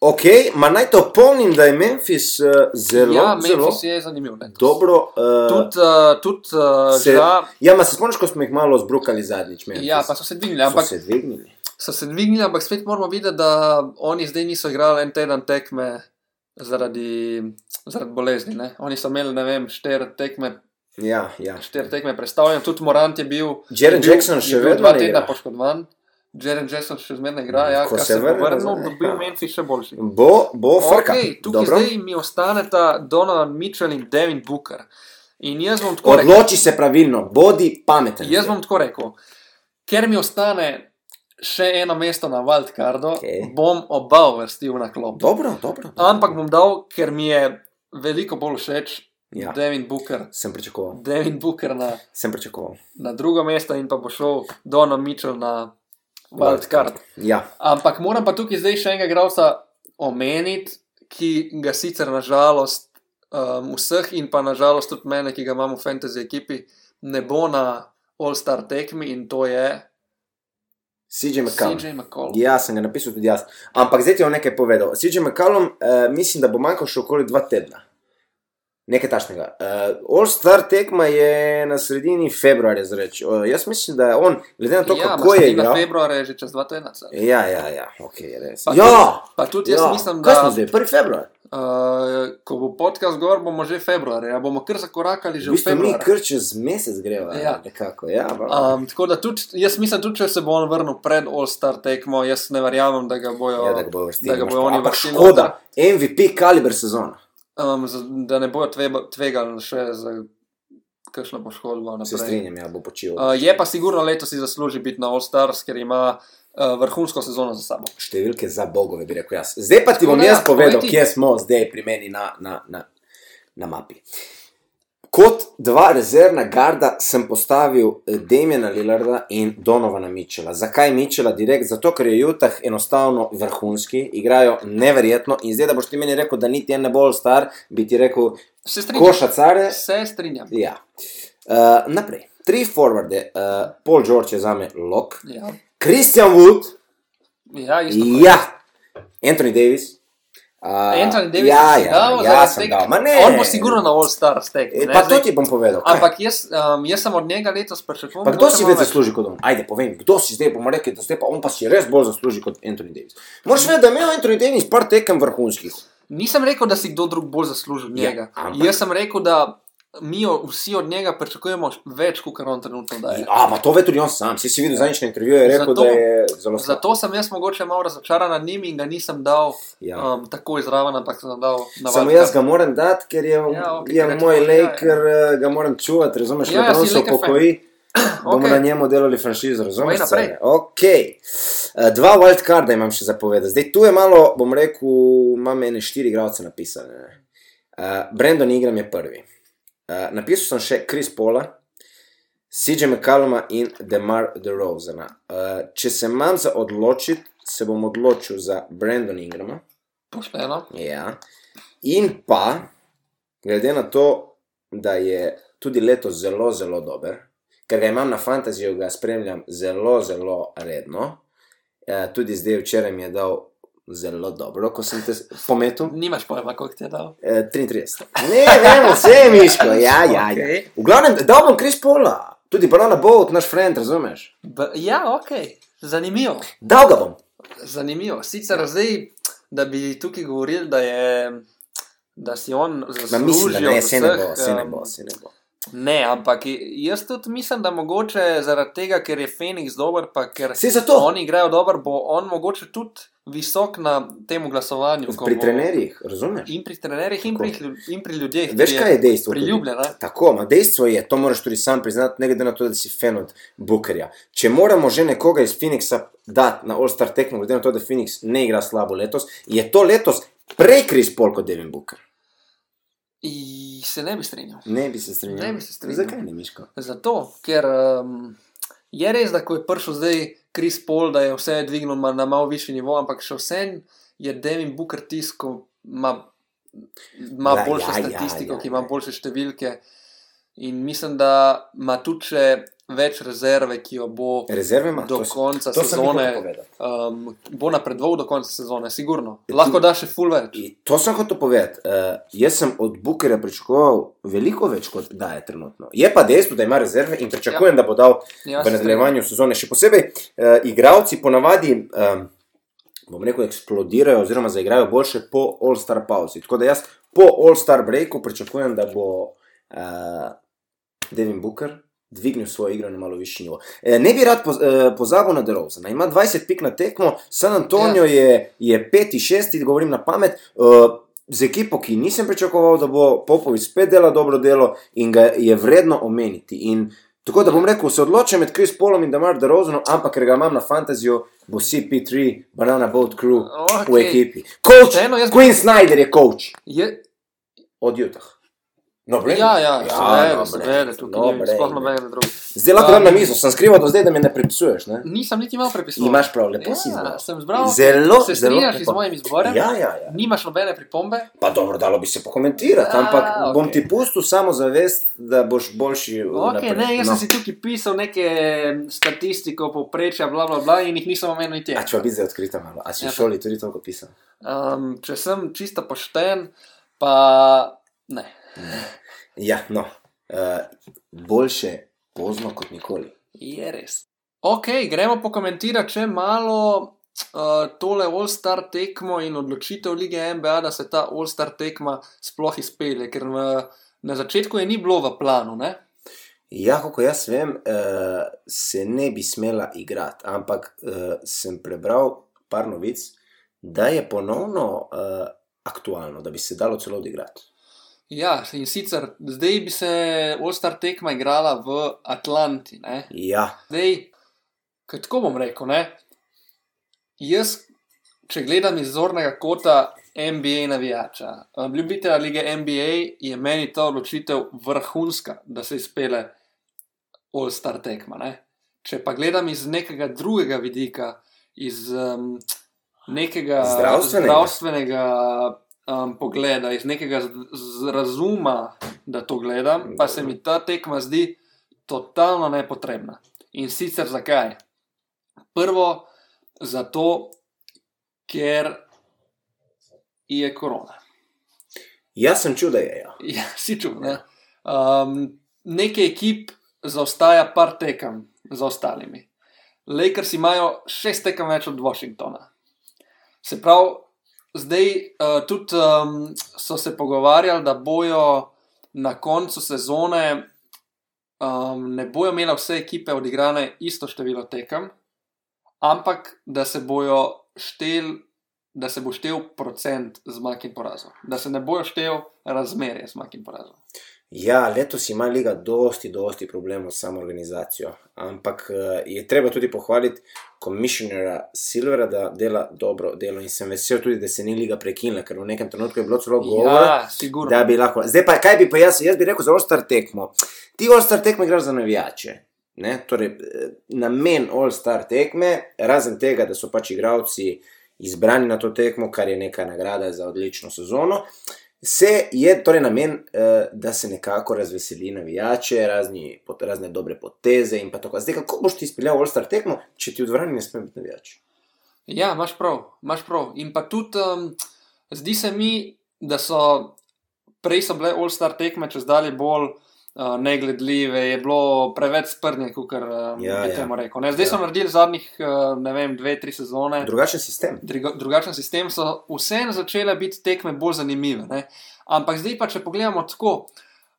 S1: Ok, ma naj to opomnim, da je Memphis uh, zelo,
S2: ja,
S1: ja, zelo
S2: Memphis je zanimiv. letos.
S1: dobro. Uh,
S2: Tudi, uh, tudi uh,
S1: se-
S2: ja,
S1: ja, ma se spomniš, ko smo jih malo zbrukali zadnjič. Memphis.
S2: ja, pa so se dvignili,
S1: ampak
S2: ampak
S1: so se dvignili.
S2: so se dvignili, ampak spet moramo videti, da oni zdaj niso igrali en teden tekme zaradi, zaradi bolezni. Ne? Oni so imeli, ne vem, štiri tekme,
S1: Ja, ja.
S2: štiri tekme predstavljene, tudi Morant je bil.
S1: Jaren
S2: je bil-
S1: Jackson
S2: je
S1: še
S2: bil
S1: vedno
S2: Dva
S1: ne
S2: tedna
S1: igra.
S2: poškodovan, Jaren Jackson še zmeraj igra, ja,
S1: Ko
S2: ko
S1: se
S2: se je
S1: vrne
S2: vrnil,
S1: nazaj,
S2: bo bil
S1: ja.
S2: Memphis še boljši.
S1: Bo, bo, frka.
S2: Okay, tukaj
S1: Dobro.
S2: Dobro. zdaj mi ostaneta Donovan Mitchell in Devin Booker. In jaz bom tako rekel.
S1: Odloči se pravilno, bodi pameten.
S2: Jaz bom tako rekel, ker mi ostane še eno mesto na Wildcardu,
S1: Okej.
S2: okay. bom oba uvrstil na klop.
S1: Dobro, dobro.
S2: Ampak bom dal, ker mi je veliko bolj všeč
S1: Ja.
S2: ja. Devin Booker.
S1: Sem pričakoval,
S2: Devin Booker na,
S1: sem pričakoval.
S2: na drugo mesto in pa bo šel Donovan Mitchell na Wildcard.
S1: Ja,
S2: Ampak moram pa tukaj zdaj še enega igralca omeniti, ki ga sicer nažalost um, vseh in pa nažalost tudi mene, ki ga imam v fantasy ekipi, ne bo na All-Star tekmi in to je
S1: CJ McCallum.
S2: CJ McCollum.
S1: Ja, sem ga napisal tudi jaz. Ampak zdaj ti bom nekaj povedal. CJ McCallum, eh, mislim, da bo manjkal še okoli dva tedna. Nekaj tašnega. Uh, All-Star tekma je na sredini februarja, zreč. Uh, jaz mislim, da je on, glede na to,
S2: ja,
S1: kako je igral.
S2: igral? Februar je že čez dva tedna. saj.
S1: Ja, ja, ja, ok, res.
S2: Pa
S1: ja,
S2: tudi- pa tudi jaz
S1: ja.
S2: mislim,
S1: Kaj
S2: da-
S1: smo zdaj, 1. februar.
S2: Uh, ko bo podcast gor, bomo že februarja, ja, bomo kar zakorakali
S1: V
S2: že v
S1: bistvu mi
S2: februar.
S1: kar čez mesec greva. Ja.
S2: Ja.
S1: Nekako, ja, um,
S2: Um, tako da tudi, jaz mislim, tudi če se bo on vrnil pred All-Star tekmo, jaz ne verjamem, da ga bojo,
S1: ja, da ga bojo vrstili.
S2: da ga
S1: imaš
S2: bojo
S1: prav.
S2: oni
S1: Ampak
S2: vrstili.
S1: Škoda, MVP kaliber sezona.
S2: Um, za- da ne bojo tveba- tvegali še za kakšno poškodbo.
S1: Se
S2: naprej.
S1: strinjam, ja, bo počil. Uh,
S2: Uh, je pa sigurno letos si zasluži biti na All-Stars, ker ima uh, vrhunsko sezono za sabo.
S1: Številke za bogove, bi rekel jaz. Zdaj pa ti
S2: Tako
S1: bom
S2: da ja,
S1: jaz povedal,
S2: povej ti.
S1: kje smo zdaj pri meni na, na, na, na mapi. Kot dva rezervna garda sem postavil Dejmena Lillarda in Donovana Mičela. Zakaj Mičela direkt? Zato, ker je Utah enostavno vrhunski, igrajo neverjetno in zdaj, da boš ti meni rekel, da niti en ne bo star, bi ti rekel,
S2: Se strinjam.
S1: košacare,
S2: Se strinjam.
S1: Ja. Uh, naprej. Tri forwarde, uh, Paul George je za me lok,
S2: Ja,
S1: Christian Wood,
S2: ja isto. kot
S1: ja, Anthony Davis. Uh,
S2: Anthony Davis
S1: ja,
S2: si
S1: ja,
S2: dal,
S1: ja,
S2: zaradi
S1: sem
S2: tega-
S1: dal. Ma ne,
S2: On bo sigurno na All-Star stek.
S1: E, Pa to ti bom povedal. kaj?
S2: Ampak jaz, um, jaz sem od njega letos pričakoval.
S1: Pa kdo
S2: mogoče
S1: si
S2: malo
S1: več zasluži kot on? Ajde, povem, kdo si zdaj bomo rekli, da zdaj pa on pa si res bolj zasluži kot Anthony Davis. Moraš vedeti, da je imel Anthony Davis par tekem vrhunskih.
S2: Nisem rekel, da si kdo drug bolj zaslužil od
S1: Ja,
S2: njega.
S1: ampak-
S2: Jaz sem rekel, da mi o- vsi od njega pričakujemo več, kot on trenutno daje.
S1: A, ma to ve tudi on sam. Si si videl zadnjič intervju, je rekel,
S2: Zato-
S1: da je zelo slab.
S2: Zato sem jaz mogoče malo razočaran nad njim in ga nisem dal
S1: Ja.
S2: um, tako izraven, ampak sem dal na
S1: Samo jaz ga moram dati, ker je, ja,
S2: Ja,
S1: okay,
S2: okej,
S1: je
S2: ker je
S1: moj
S2: tako, ja,
S1: Laker, ja, ja. ga moram čuvati, razumeš,
S2: Ja,
S1: ja,
S2: ja,
S1: Lebron
S2: si
S1: se
S2: Laker fan.
S1: upokoji, bomo okay.
S2: Okej.
S1: na njemu delali franšizo, razumeš?
S2: Povej
S1: stare?
S2: naprej.
S1: Okay. Eh, Dva wildcarda imam še zapovedati. Zdaj tu je malo, bom rekel, imam ene štiri igralce napisane. ne. Eh, Brandon Ingram je prvi. Eh, napisal sem še Chris Paula. CJ McCalluma in Demar DeRozana. Eh, Če se imam za odločiti, se bom odločil za Brandon Ingrama,
S2: Pošteno.
S1: Ja. In pa, glede na to, da je tudi letos zelo, zelo dober, ker ga imam na fantaziju, ga spremljam zelo, zelo redno. E, tudi zdaj, včeraj mi je dal zelo dobro, ko sem te s- pometel.
S2: Nimaš pojma, koliko ti je dal.
S1: E, 33. Ne, ne, vse je miško, ja, ja. ja.
S2: Okej.
S1: V glavnem, dal bom Kris Pola, tudi Barona Bolt, naš friend, razumeš?
S2: B ja, ok, zanimivo.
S1: Dal ga bom.
S2: Zanimivo. Sicer
S1: Ja.
S2: zdaj, da bi tukaj govorili, da je. Da si on
S1: Ma,
S2: zaslužil.
S1: mislim, da ne,
S2: od
S1: se ne
S2: vseh,
S1: bo, se ne
S2: em,
S1: bo, se ne bo.
S2: Ne, ampak jaz tudi mislim, da mogoče zaradi tega, ker je Feniks dober, pa ker
S1: Saj zato.
S2: oni igrajo dobro, bo on mogoče tudi visok na tem glasovanju. ko
S1: Pri
S2: bo-
S1: trenerjih, razumeš?
S2: In pri trenerjih, in pri, lju- in pri ljudeh.
S1: Veš, kaj je dejstvo? tudi?
S2: Priljubljena.
S1: Tako, ma dejstvo je, to moraš tudi sam priznati, ne glede na to, da si fan od Bookerja. Če moramo že nekoga iz Phoenixa dati na All-Star tekmo, glede na to, da Phoenix ne igra slabo letos, je to letos prej Kris Paul kot Devin Booker.
S2: I se ne bi strinjal.
S1: Ne bi se strinjal.
S2: Ne bi se strinjal.
S1: Zakaj ne, Miško?
S2: Zato, ker um, je res, da ko je prišel zdaj Kris Paul, da je vse dvignil ma- na malo višji nivo, ampak še vsem je Devin Booker tisk, ko ima, ima
S1: Ja,
S2: boljšo
S1: ja, ja,
S2: statistiko,
S1: ja,
S2: ki
S1: ja.
S2: ima boljše številke. In mislim, da ima tudi še več rezerve, ki jo bo
S1: Rezerve ima.
S2: do
S1: Ja, to s-
S2: konca
S1: to sem hotel
S2: sezone.
S1: povedati.
S2: Um, bo napredoval do konca sezone, sigurno.
S1: Ja, tu-
S2: Lahko da še full več.
S1: In To sem hotel povedati. Uh, jaz sem od Bookerja pričakoval veliko več, kot da je trenutno. Je pa dejstvo, da ima rezerve in pričakujem, ja. da bo dal
S2: Ja,
S1: v
S2: se
S1: nadaljevanju sezone. Še posebej uh, igravci ponavadi, um, bom rekel, eksplodirajo oziroma zaigrajo boljše po All-Star pauzi. Tako da jaz po All-Star breaku pričakujem, da bo uh, Devin Booker dvignil svojo igro na malo višji nivo. E, ne bi rad poz, e, pozabil na Derozana. Ima 20 pik na tekmo, San Antonijo ja. je, je 5-6, govorim na pamet. E, Z ekipo, ki nisem pričakoval, da bo Popovič spet delal dobro delo in ga je vredno omeniti. In tako da bom rekel, se odločim med Kris Polom in Damar Derozanom, ampak ker ga imam na fantaziju, bo CP3, Banana Boat Crew okay. v
S2: Okej.
S1: ekipi. Coach,
S2: Vseeno jaz bi-
S1: Queen Snyder je coach
S2: Je,
S1: od Utah. No, Dobre.
S2: Ja, ja,
S1: no,
S2: seveda, seveda, tukaj
S1: dobre
S2: ni sploh Ja.
S1: ime.
S2: nobenega drugega.
S1: Zdaj lahko dam na mizo, sem skrival do zdaj, da me ne prepisuješ. Ne?
S2: Nisem niti imel prepisov.
S1: Imaš prav, lepo
S2: ja,
S1: si izbral.
S2: Sem zbral.
S1: Zelo,
S2: se
S1: zelo
S2: strinjaš
S1: lepo.
S2: z mojim izborem?
S1: Ja, ja, ja.
S2: Nimaš nobene pripombe?
S1: Pa dobro, dalo bi se pokomentirati,
S2: A,
S1: ampak bom
S2: ok.
S1: ti pustil samo zavest, da boš boljši. naprej.
S2: Okay, ne, jaz
S1: No.
S2: sem si tukaj pisal neke statistike, povprečja, bla, bla, bla, in jih nisem omenil niti.
S1: A če pa biti zdaj odkrita malo, a si v
S2: Ja, pa-
S1: šoli tudi toliko pisal?
S2: Um, če sem čisto pošten, pa ne.
S1: Ja, no. Uh, boljše pozno kot nikoli.
S2: Je res. Ok, gremo pokomentirati, če malo uh, tole All-Star tekmo in odločitev lige NBA, da se ta All-Star tekma sploh izpelje, ker v, na začetku je ni bilo v planu. Ne?
S1: Ja, kako jaz vem, uh, se ne bi smela igrati, ampak uh, sem prebral par novic, da je ponovno uh, aktualno, da bi se dalo celo odigrati.
S2: Ja, in sicer zdaj bi se All-Star tekma igrala v Atlanti. Ne?
S1: Ja,
S2: Zdaj, kaj tako bom rekel, ne? jaz, če gledam iz zornega kota NBA navijača, eh, ljubitelja lige NBA, je meni ta odločitev vrhunska, da se izpele All-Star tekma. Ne? Če pa gledam iz nekega drugega vidika, iz um, nekega
S1: Zdravstvenega.
S2: zdravstvenega um, pogleda, iz nekega z, z razuma, da to gledam, pa se mi ta tekma zdi totalno nepotrebna. In sicer zakaj? Prvo, zato, ker je korona.
S1: jaz sem čuda je. Ja.
S2: Ja, si čutil. Ne? Um, nekaj ekip zaostaja par tekem za ostalimi. Lakers imajo šest tekem več od Washingtona. Se pravi, zdaj uh, tudi um, so se pogovarjali, da bojo na koncu sezone um, ne bojo imele vse ekipe odigrane isto število tekem, ampak da se bojo štel. Da se bo štel procent zmag in porazov, da se ne bojo štel razmerje zmag in porazov.
S1: Ja, letos ima Liga dosti, dosti problemov s samo organizacijo, ampak eh, je treba tudi pohvaliti komisionera Silvera, da dela dobro delo in sem vesel tudi, da se ni Liga prekinila, ker v nekem trenutku je bilo celo govora,
S2: Ja, sigurno.
S1: da bi lahko. Zdaj pa, kaj bi pa jaz, jaz bi rekel za All-Star tekmo. Ti All-Star tekme igraš za navijače. Ne? Torej, eh, namen All-Star tekme, razen tega, da so pač igravci izbrani na to tekmo, kar je neka nagrada za odlično sezono, se je torej namen, eh, da se nekako razveseli navijače, razni, pot- razne dobre poteze in pa tako. Zdaj, kako boš ti izpeljal All-Star tekmo, če ti v dvorani ne sme biti navijač?
S2: Ja, imaš prav, imaš prav. In pa tudi, um, zdi se mi, da so prej so bile all-star tekme, če zdaj bolj uh, negledljive, je bilo preveč sprnje, kot um,
S1: Ja,
S2: ja, bi
S1: ja.
S2: temu rekel. Ne? Zdaj
S1: Ja.
S2: ja. so naredili zadnjih, uh, ne vem, dve, tri sezone.
S1: Drugačen sistem.
S2: Druga, drugačen sistem, so vseeno začele biti tekme bolj zanimive. Ne? Ampak zdaj pa, če pogledamo tako,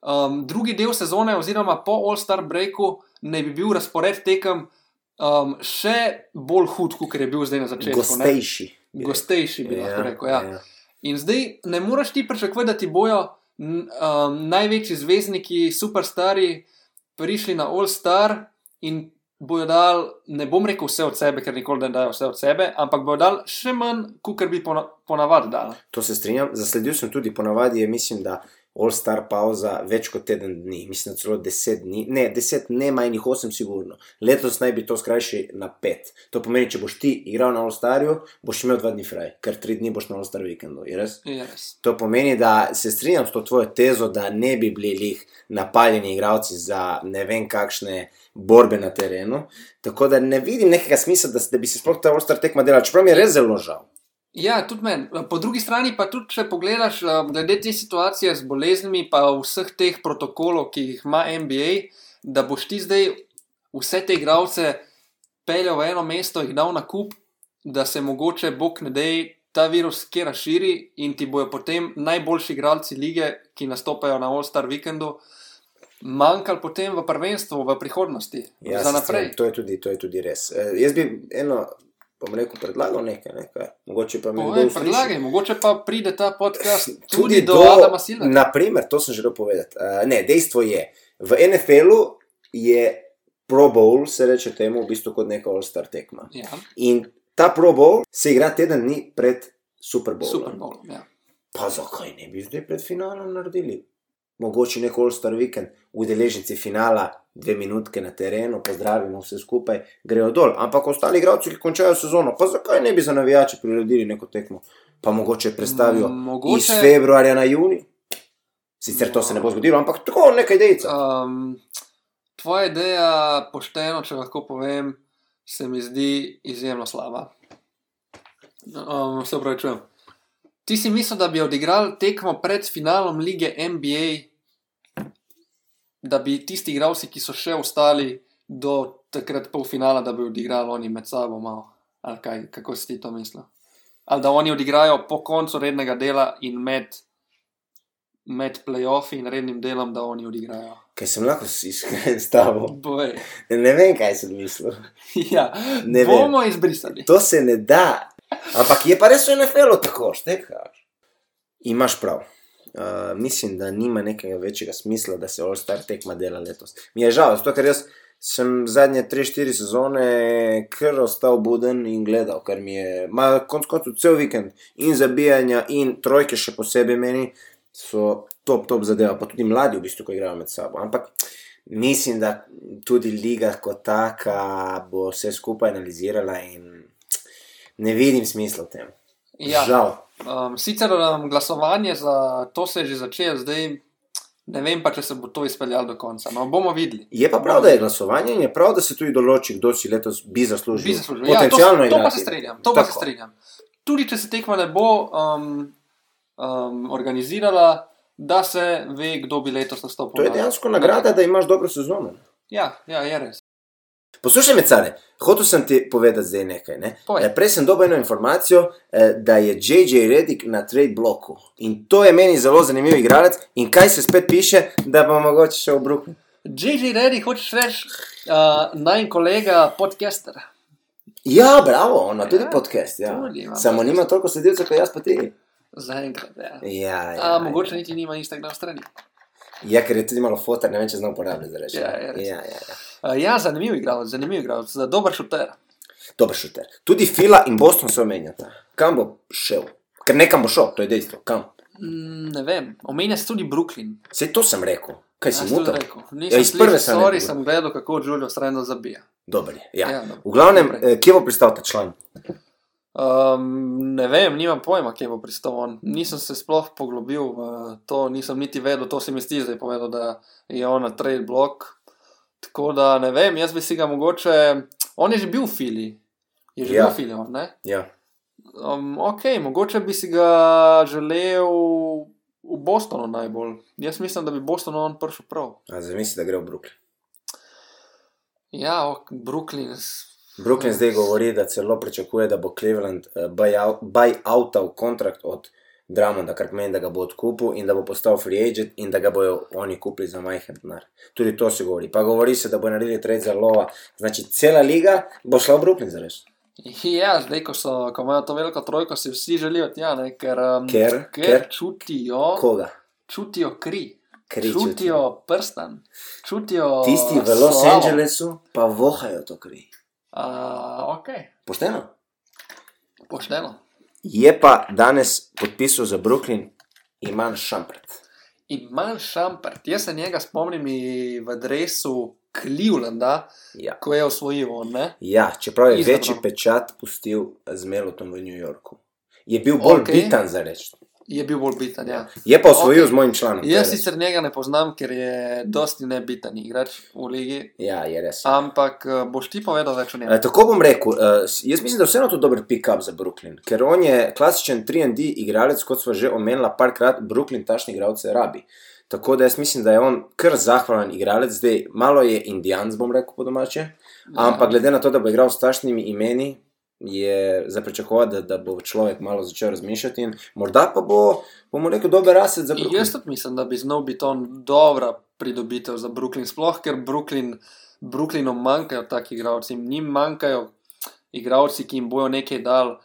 S2: um, drugi del sezone, oziroma po All-Star breaku, ne bi bil razpored tekem um, še bolj hud, kot je bil zdaj na začetku. ne.
S1: Gostejši. bi rekel.
S2: Gostejši bi lahko rekel. Ja. In zdaj ne moreš ti pričakovati, da ti bojo n- um, največji zvezdniki, superstari, prišli na All-Star in bojo dal, ne bom rekel vse od sebe, ker nikoli ne dajo vse od sebe, ampak bojo dal še manj, kot bi pona- ponavadi dal.
S1: To se strinjam. Zasledil sem tudi ponavadi, je, mislim, da All-Star pauza več kot teden dni, mislim, da celo deset dni, ne, deset ne, manj jih osem, sigurno. Letos naj bi to skrajšali na pet. To pomeni, če boš ti igral na All-Starju, boš imel dva dni fraj, ker tri dni boš na All-Star vikendu, je res?
S2: Yes.
S1: To pomeni, da se strinjam s to tvojo tezo, da ne bi bili lih napaljeni igravci za ne vem kakšne borbe na terenu. Tako da ne vidim nekega smisla, da, s- da bi se sploh ta All-Star tekma delala, čeprav mi je res zelo žal.
S2: Ja, tudi meni. Po drugi strani pa tudi, če pogledaš, eh, glede te situacije z boleznimi, pa vseh teh protokolov, ki jih ima NBA, da boš ti zdaj vse te igralce peljal v eno mesto, jih dal na kup, da se mogoče, bog ne dej, ta virus kje razširi in ti bojo potem najboljši igralci lige, ki nastopajo na All-Star vikendu, manjkali potem v prvenstvu, v prihodnosti,
S1: Ja,
S2: ja, za
S1: se strinjam,
S2: naprej.
S1: To je tudi, to je tudi res. E, jaz bi eno, bom rekel, predlagal nekaj, nekaj. mogoče pa mi kdo
S2: Povej,
S1: usliši.
S2: predlagaj, mogoče pa pride ta podcast tudi,
S1: Tudi
S2: do, do Adama Silva.
S1: Naprimer, to sem želel povedati. E, ne, dejstvo je, v NFL-u je Pro Bowl, se reče temu, v bistvu kot neka all-star tekma.
S2: Ja,
S1: In ta Pro Bowl se igra teden dni pred Super Bowlom.
S2: Super Bowl. Ja.
S1: Pa zakaj ne bi zdaj pred finalom naredili? mogoče nek All-Star vikend, udeleženci finala, dve minutke na terenu, pozdravimo vse skupaj, grejo dol. Ampak ostali igralci, ki končajo sezono, pa zakaj ne bi za navijače priredili neko tekmo, pa mogoče prestavijo
S2: Mm,
S1: mogoče...
S2: mogoče-
S1: iz februarja na juni. Sicer to se ne bo zgodilo, ampak tako nekaj dejca.
S2: Um, tvoja ideja, pošteno, če lahko povem, se mi zdi izjemno slaba. Um, se pravi, čujem. Ti si mislil, da bi odigral tekmo pred finalom lige NBA, da bi tisti igralci, ki so še ostali do takrat polfinala, da bi odigrali oni med sabo malo. Ali kaj, kako si ti to mislil? Ali da oni odigrajo po koncu rednega dela in med, med playoffi in rednim delom, da oni odigrajo.
S1: Ker sem lahko s- iskren s tabo.
S2: Boj.
S1: Ne vem, kaj sem mislil.
S2: Ja,
S1: Ne
S2: ne
S1: vem.
S2: bomo izbrisali.
S1: To se ne da. Ampak je pa res v NFL-u tako, štekaš. Imaš prav. Uh, mislim, da nima nekega večjega smisla, da se All-Star tekma dela letos. Mi je žal, zato ker jaz sem zadnje 3-4 sezone kar ostal buden in gledal, ker mi je, ma konc koncu cel vikend in zabijanja in trojke še posebej meni so top, top zadeva, pa tudi mladi v bistvu, ko igrajo med sabo. Ampak mislim, da tudi liga kot taka bo vse skupaj analizirala in ne vidim smisla v tem.
S2: Ja.
S1: Žal.
S2: Um, sicer um, glasovanje za to se je že začelo, zdaj ne vem pa, če se bo to izpeljalo do konca. No, bomo videli.
S1: Je pa prav, da je glasovanje in je prav, da se tudi določi, kdo si letos bi zaslužil.
S2: Bi zaslužil. Ja, to,
S1: Potencialno
S2: se- to pa
S1: igrati.
S2: se strinjam. To pa se
S1: Tako.
S2: strinjam. Tudi če se tekma ne bo um, um, organizirala, da se ve, kdo bi letos nastopil.
S1: To je
S2: na-
S1: dejansko
S2: na
S1: nagrada,
S2: tekmi.
S1: da imaš dobro sezono.
S2: Ja, ja, je res.
S1: Poslušaj me, care, hotel sem ti povedati zdaj nekaj. Ne?
S2: Povej.
S1: Eh, Prej sem dobil eno informacijo, eh, da je J.J. Reddick na trade bloku. In to je meni zelo zanimiv igralec. In kaj se spet piše, da bo mogoče še v Bruku.
S2: J.J. Reddy, hočeš reči, uh, naj kolega podcaster.
S1: Ja, bravo, on ima tudi
S2: Ja,
S1: podcast. Ja.
S2: tudi ima
S1: Samo
S2: podcast.
S1: nima toliko sledilcev kot jaz, pa ti.
S2: Zaenkrat, ja.
S1: Ja, ja,
S2: A, mogoče niti nima Instagram strani.
S1: Ja, ker je tudi malo fotor, ne vem, če znam uporabljati za reči.
S2: Ja, je res.
S1: ja, ja, ja.
S2: Uh, ja, zanimiv igralec, zanimiv igralec, za dober šuter.
S1: Dober šuter. Tudi Fila in Boston se omenjata. Kam bo šel? Ker nekam bo šel, to je dejstvo. Kam?
S2: Mm, ne vem, omenja se tudi Brooklyn.
S1: Sej to sem rekel. Kaj si
S2: A,
S1: mu to?
S2: rekel.
S1: Ja,
S2: Nisem
S1: iz
S2: ja,
S1: prve
S2: prve
S1: sem
S2: sem. Sorry,
S1: rekel.
S2: sem gledal, kako Julio Strano zabija.
S1: Dober je. Ja.
S2: Ja, dobro.
S1: V glavnem,
S2: Naprej.
S1: eh, kje bo pristal ta član?
S2: Um, ne vem, nimam pojma, kje bo pristal on. Nisem se sploh poglobil v to, nisem niti vedel, to se mi zdi zdaj povedal, da je on na trade blok. Tako da ne vem, jaz bi si ga mogoče. On je že bil v Fili. Je že
S1: Ja.
S2: ja. bil v Fili, on, ne?
S1: Ja.
S2: Um, ok, mogoče bi si ga želel v Bostonu najbolj. Jaz mislim, da bi Boston on prišel prav.
S1: A Zamisli, da gre v Brooklyn.
S2: Ja, ok, Brooklyn. s-
S1: Brooklyn zdaj govori, da celo pričakuje, da bo Cleveland eh, buyout- buyoutal kontrakt od Dramonda, kar pomeni, da ga bo odkupil in da bo postal free agent in da ga bojo oni kupili za majhen denar. Tudi to se govori. Pa govori se, da bo naredili trade za lova. Znači, cela liga bo šla v Brooklyn za res.
S2: Ja, zdaj, ko, so, ko imajo to veliko trojko, si vsi želijo tja, ne? ker, um,
S1: Ker-
S2: ker,
S1: ker-
S2: ker čutijo,
S1: Koga?
S2: čutijo kri,
S1: Kri
S2: čutijo,
S1: čutijo.
S2: čutijo prstan, čutijo.
S1: Tisti v Los
S2: slavo.
S1: Angelesu pa vohajo to kri.
S2: A, ok,
S1: Pošteno?
S2: pošteno.
S1: Je pa danes podpisal za Brooklyn Iman Šampret.
S2: Imam šampert, jaz se njega spomnim i- v dresu Clevelanda,
S1: Ja.
S2: ko je osvojil on. Ne?
S1: Ja, čeprav je
S2: Izabral.
S1: večji pečat pustil z Melotom v New Yorku. Je bil bolj okay.
S2: Okej.
S1: bitan za reči.
S2: Je bil bolj biten. Ja.
S1: Je pa osvojil okay.
S2: Okej.
S1: z mojim članom. torej. to je
S2: Jaz
S1: res.
S2: sicer njega ne poznam, ker je dosti nebiten igrač v ligi,
S1: Ja, je res.
S2: ampak eh, boš ti povedal več o njem.
S1: E, Tako bom rekel, e, s- jaz mislim, da je vseeno to dober pick-up za Brooklyn, ker on je klasičen 3D igralec, kot smo že omenili parkrat, Brooklyn tašni igralce rabi. Tako da jaz mislim, da je on kar zahvalen igralec, zdaj malo je indijanc, bom rekel po domače, ampak glede na to, da bo igral s tašnimi imeni, je za pričakovati, da, da bo človek malo začel razmišljati in morda pa bo, bomo rekel, dober asset za
S2: In
S1: Brooklyn.
S2: Jaz tudi mislim, da bi znal biti on dobra pridobitev za Brooklyn, sploh ker Brooklyn, Brooklynu manjkajo taki igralci, njim manjkajo igralci, ki jim bojo nekaj dal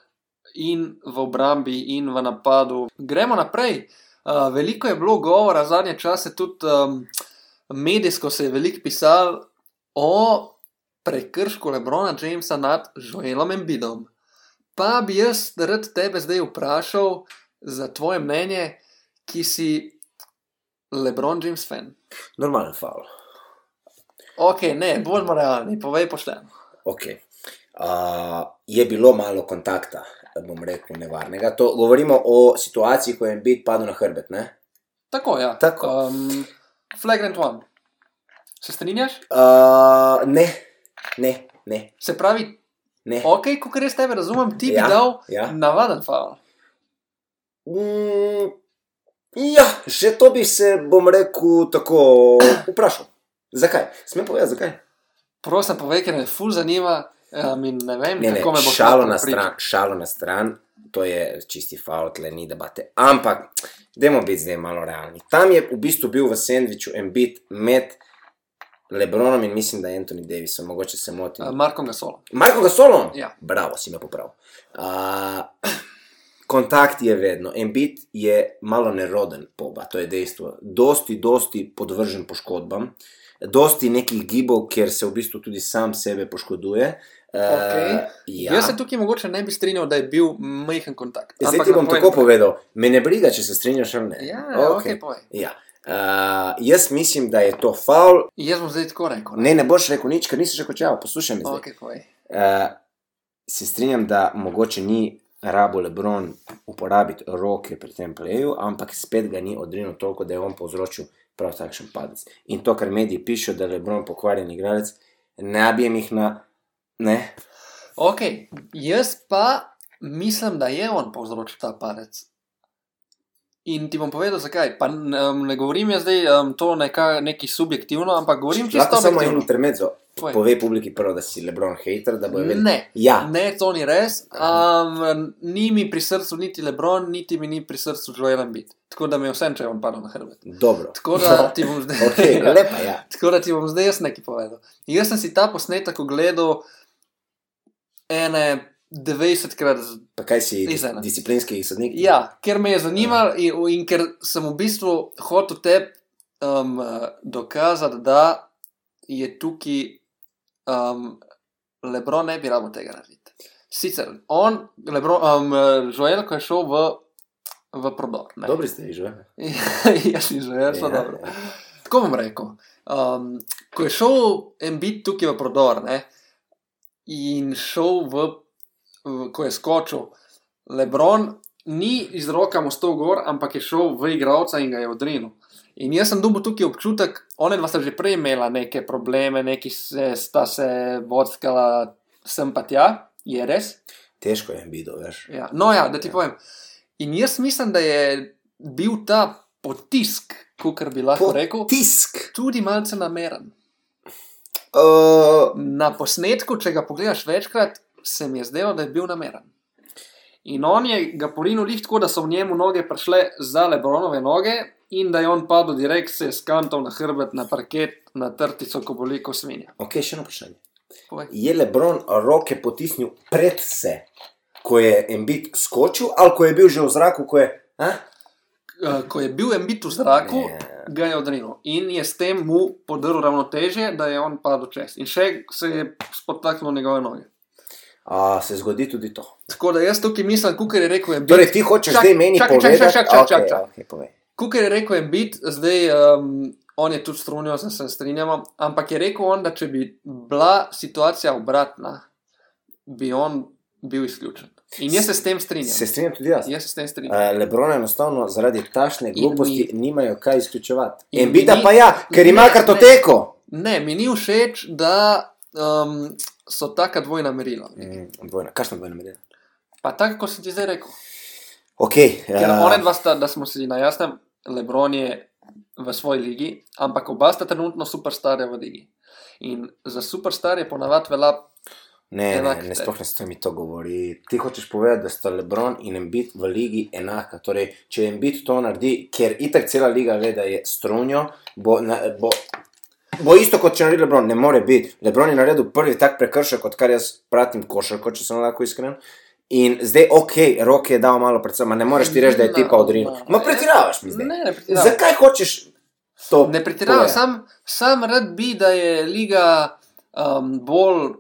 S2: in v obrambi, in v napadu. Gremo naprej. Uh, veliko je bilo govora zadnje čase, tudi um, medijsko se je veliko pisalo o prekršku Lebrona Jamesa nad Joelom Embidom. Pa bi jaz rad tebe zdaj vprašal za tvoje mnenje, ki si Lebron James fan.
S1: Normalen faul.
S2: Ok, ne, bodimo realni, povej pošteno.
S1: Okay. Uh, je bilo malo kontakta, bom rekel, nevarnega. To govorimo o situaciji, ko je Embiid padel na hrbet. Ne?
S2: Tako, ja.
S1: Tako.
S2: Um, flagrant one. Se strinjaš?
S1: Uh, ne, ne, ne.
S2: Se pravi,
S1: ne.
S2: ok, kot res tebe razumem, ti bi
S1: Ja,
S2: dal
S1: ja.
S2: navaden faul.
S1: Mm, ja, že to bi se, bom rekel, tako vprašal. Zakaj? Smem povedati, zakaj?
S2: Prosim, povej, ker me ful zanima. Um, in ne vem,
S1: Ne, ne,
S2: kako me bo
S1: šalo na stran, šalo na stran, to je čisti faul, tle ni debate. Ampak, dajmo biti zdaj malo realni. Tam je v bistvu bil v sendviču en bit med Lebronom in mislim, da Anthony Davisom, mogoče se motim. Um,
S2: Marko Gasol.
S1: Marko Gasolom!
S2: Ja.
S1: Bravo, si me popravil. Uh, kontakt je vedno, en bit je malo neroden poba, to je dejstvo. Dosti, dosti podvržen poškodbam, dosti nekih gibov, kjer se v bistvu tudi sam sebe poškoduje. Uh,
S2: Okej.
S1: ja. E,
S2: Ja. Jaz se tukaj mogoče ne bi strinjal, da je bil majhen kontakt.
S1: Zdaj
S2: Ampak
S1: ti bom
S2: napovej
S1: tako
S2: naprej.
S1: povedal, me ne briga, če se strinjaš ali ne.
S2: Ja, ok,
S1: Okej.
S2: povej.
S1: ja. Uh, jaz mislim, da je to faul.
S2: Jaz bom zdaj tako rekel.
S1: Ne, ne boš rekel nič, ker nisi že končal. Poslušaj me.
S2: Ok,
S1: Okay.
S2: povej.
S1: Uh, se strinjam, da mogoče ni rabo Lebron uporabiti roke pri tem pleju, ampak spet ga ni odrinil toliko, da je on povzročil prav takšen padec. In to, kar mediji pišejo, da je Lebron pokvarjen igralec, ne bi jim jih na. Ne,
S2: Ok, jaz pa mislim, da je on povzročil ta padec. In ti bom povedal, zakaj. Pa, um, ne govorim jaz zdaj um, to neka, neki subjektivno, ampak govorim čisto
S1: lahko samo en
S2: objektivno.
S1: intermezzo.
S2: Povej.
S1: Povej publiki prvo, da si Lebron hater, da bojo vedeli.
S2: Ne,
S1: Ja.
S2: ne, to ni res. Um, ni mi pri srcu niti Lebron, niti mi ni pri srcu Joel Embiid. Tako da mi je vsem, če je on padel na hrbet.
S1: Dobro.
S2: Tako da ti bom zdaj
S1: okay, lepa, No. ja.
S2: Tako da ti bom zdaj jaz nekaj povedal. In jaz sem si ta posnetek ogledal ene 20krat.
S1: Pa kaj si
S2: Ni vseeno.
S1: disciplinski sodnik?
S2: Ja, ker me je zanimalo in, in ker sem v bistvu hotel tebi um, eh, dokazati, da je tukaj um, Lebron ne bi rabo tega narediti. Sicer on, Lebron, um, Joel, ko je šel v, v prodor. ne.
S1: Dobri ste, že.
S2: Jaz sem Joel, so
S1: Ja,
S2: dobro.
S1: ja.
S2: Tako bom rekel. Um, ko je šel Embiid tukaj v prodor ne, in šel v, v, ko je skočil, Lebron ni iz roka mu stov gor, ampak je šel v igralca in ga je odrinil. In jaz sem dobil tukaj občutek, one dva sta že prej imela neke probleme, neki se, sta se vodskala sem pa tja, je res.
S1: Težko je bilo, veš.
S2: Ja. No, ja, da ti povem. In jaz mislim, da je bil ta potisk, kot bi lahko rekel,
S1: Tisk.
S2: tudi malce nameren.
S1: Uh,
S2: Na posnetku, če ga pogledaš večkrat, se mi je zdelo, da je bil nameren. In on je ga porinil lih tako, da so v njemu noge prišle za Lebronove noge in da je on padel direkt se s kantov na hrbet, na parket, na trtico, ko boli ko svinja.
S1: ok, še eno vprašanje.
S2: Povej.
S1: Je Lebron roke potisnil pred se, ko je Embiid skočil, ali ko je bil že v zraku, ko je. A?
S2: Eh, ko je bil Embiid v zraku,
S1: Ja.
S2: yeah. ga je odrinil in je s tem mu podaril ravnoteže, da je on padel čez. In še se je spotaknil njegove noge.
S1: A, se zgodi tudi to.
S2: Tako da jaz tukaj mislim, kukar je rekel Embiid.
S1: Torej, ti hočeš
S2: čak-
S1: zdaj meni
S2: čakaj, čakaj,
S1: povedati,
S2: čakaj, čakaj, čakaj,
S1: Ok,
S2: čakaj.
S1: ok, povej.
S2: Kukar je rekel Embiid, zdaj um, on je tudi strunil, se, se strinjamo, ampak je rekel on, da če bi bila situacija obratna, bi on bil izključen. In jaz se s tem strinjam.
S1: Se strinjam tudi jaz.
S2: Jaz se s tem strinjam.
S1: Uh, Lebrona enostavno zaradi tašne
S2: mi-
S1: gluposti nimajo kaj izključevati.
S2: In mi
S1: Embida
S2: ni-
S1: pa ja, ker ima
S2: Ne, ne.
S1: kartoteko.
S2: Ne, mi ni všeč, da um, so taka dvojna merila.
S1: Mm, dvojna, kakšna dvojna merila?
S2: Pa tako, kot sem ti zdaj rekel.
S1: Ok,
S2: Ker
S1: ja.
S2: one dva sta, da smo si na jasnem, Lebron je v svoji ligi, ampak oba sta trenutno superstarja v ligi. In za superstarje ponavadi velja,
S1: ne, ne,
S2: enak-
S1: ne, sploh ne stoji mi to govori. Ti hočeš povedati, da sta Lebron in Embiid v ligi enaka. Torej, če Embiid to naredi, ker itak cela liga ve, da je strunjo, bo, na, bo, bo isto kot če naredi Lebron, ne more biti. Lebron je naredil prvi tak prekršek, odkar jaz pratim košarko, če sem lahko iskren. In zdaj, ok, roke je dal malo predvsem, ne moreš ti reči, da je ti pa odrinil. Ma pretiravaš mi zdaj.
S2: Ne, ne pretiravam.
S1: Zakaj hočeš to?
S2: Ne pretiravam,
S1: povedati?
S2: sam, sam rad bi, da je liga um, bolj,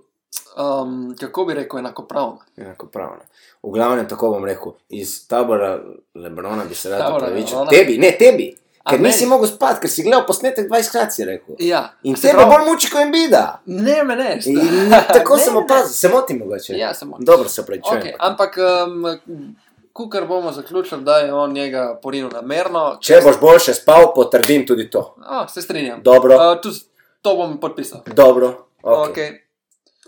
S2: um, kako bi rekel, enakopravna.
S1: Enakopravno. V glavnem, tako bom rekel, iz tabora Lebrona bi se rad
S2: Tabora
S1: upravičil.
S2: Lebrona.
S1: Tebi, ne tebi,
S2: A
S1: Ker
S2: meni-
S1: nisi mogel spati, ker si gledal posnetek 20krat, si rekel.
S2: Ja,
S1: In Ja,
S2: se
S1: tebe
S2: pravi-
S1: bolj muči, ko jim bida.
S2: Ne, me ne. sta-
S1: In tako
S2: Ne,
S1: sem
S2: ne, ne.
S1: opazil, se motim mogoče.
S2: Ja, se motim.
S1: Dobro, se opravičujem.
S2: Okay, ampak, um, kukar bomo zaključili, da je on njega porinil namerno.
S1: Če boš boljše spal, potrdim tudi to.
S2: A, se strinjam.
S1: Dobro.
S2: Uh, tu, s- to bom podpisal.
S1: Dobro. Okay. Okay.
S2: Okay.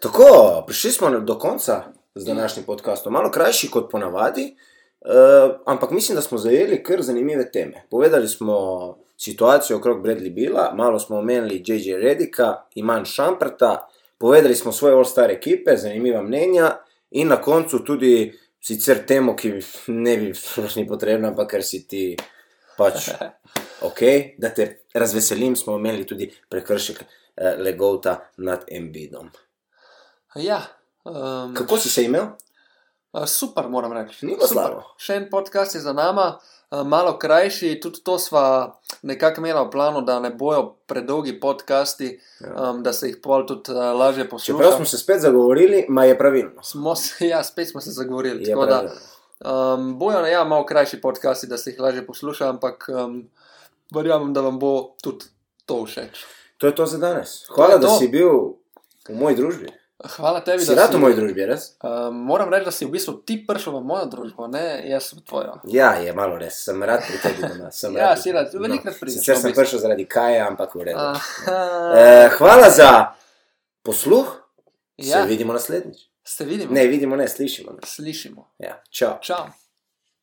S1: Tako, prišli smo do konca z današnjim podcastom. Malo krajši kot ponavadi, uh, ampak mislim, da smo zajeli kar zanimive teme. Povedali smo situacijo okrog Bradley Billa, malo smo omenili J.J. Redika, Iman Šamprta, povedali smo svoje all-star ekipe, zanimiva mnenja in na koncu tudi sicer temo, ki ne bi sploh ni potrebna, ampak ker si ti pač Okay, da te razveselim, smo imeli tudi prekršek eh, Legota nad Embidom.
S2: Ja, um,
S1: Kako si se imel?
S2: Uh, Super, moram reči.
S1: Ni bilo
S2: Super.
S1: slabo.
S2: Še en podcast je za nama, uh, malo krajši, tudi to sva nekako imela v planu, da ne bojo predolgi podcasti,
S1: Ja.
S2: um, da se jih pol tudi uh, lažje
S1: Čeprav smo
S2: posluša.
S1: se spet zagovorili, ma je pravilno.
S2: Smo se, ja, spet smo se zagovorili.
S1: Je
S2: Tako da
S1: pravilno.
S2: um, bojo ja, malo krajši podcasti, da se jih lažje posluša, ampak um, verjamem, da vam bo tudi to všeč.
S1: To je to za danes.
S2: To
S1: Hvala,
S2: je
S1: da
S2: to.
S1: si bil v moji družbi.
S2: Hvala tebi,
S1: Si
S2: da
S1: rad v moji družbi, res?
S2: Um, moram reči, da si v bistvu ti prišel v mojo družbo, ne jaz v tvojo.
S1: Ja, je malo res, sem rad pri tebi doma. Sem
S2: Ja,
S1: pri
S2: si
S1: tebi.
S2: rad, velikokrat prideš,
S1: Sicer
S2: no, v
S1: sem
S2: bistvu.
S1: prišel zaradi kaja, ampak v redu.
S2: Aha.
S1: Eh, hvala za posluh, se
S2: Ja,
S1: vidimo naslednjič.
S2: se vidimo.
S1: Ne, vidimo, ne, slišimo.
S2: Slišimo.
S1: Ja, čau.
S2: Čau.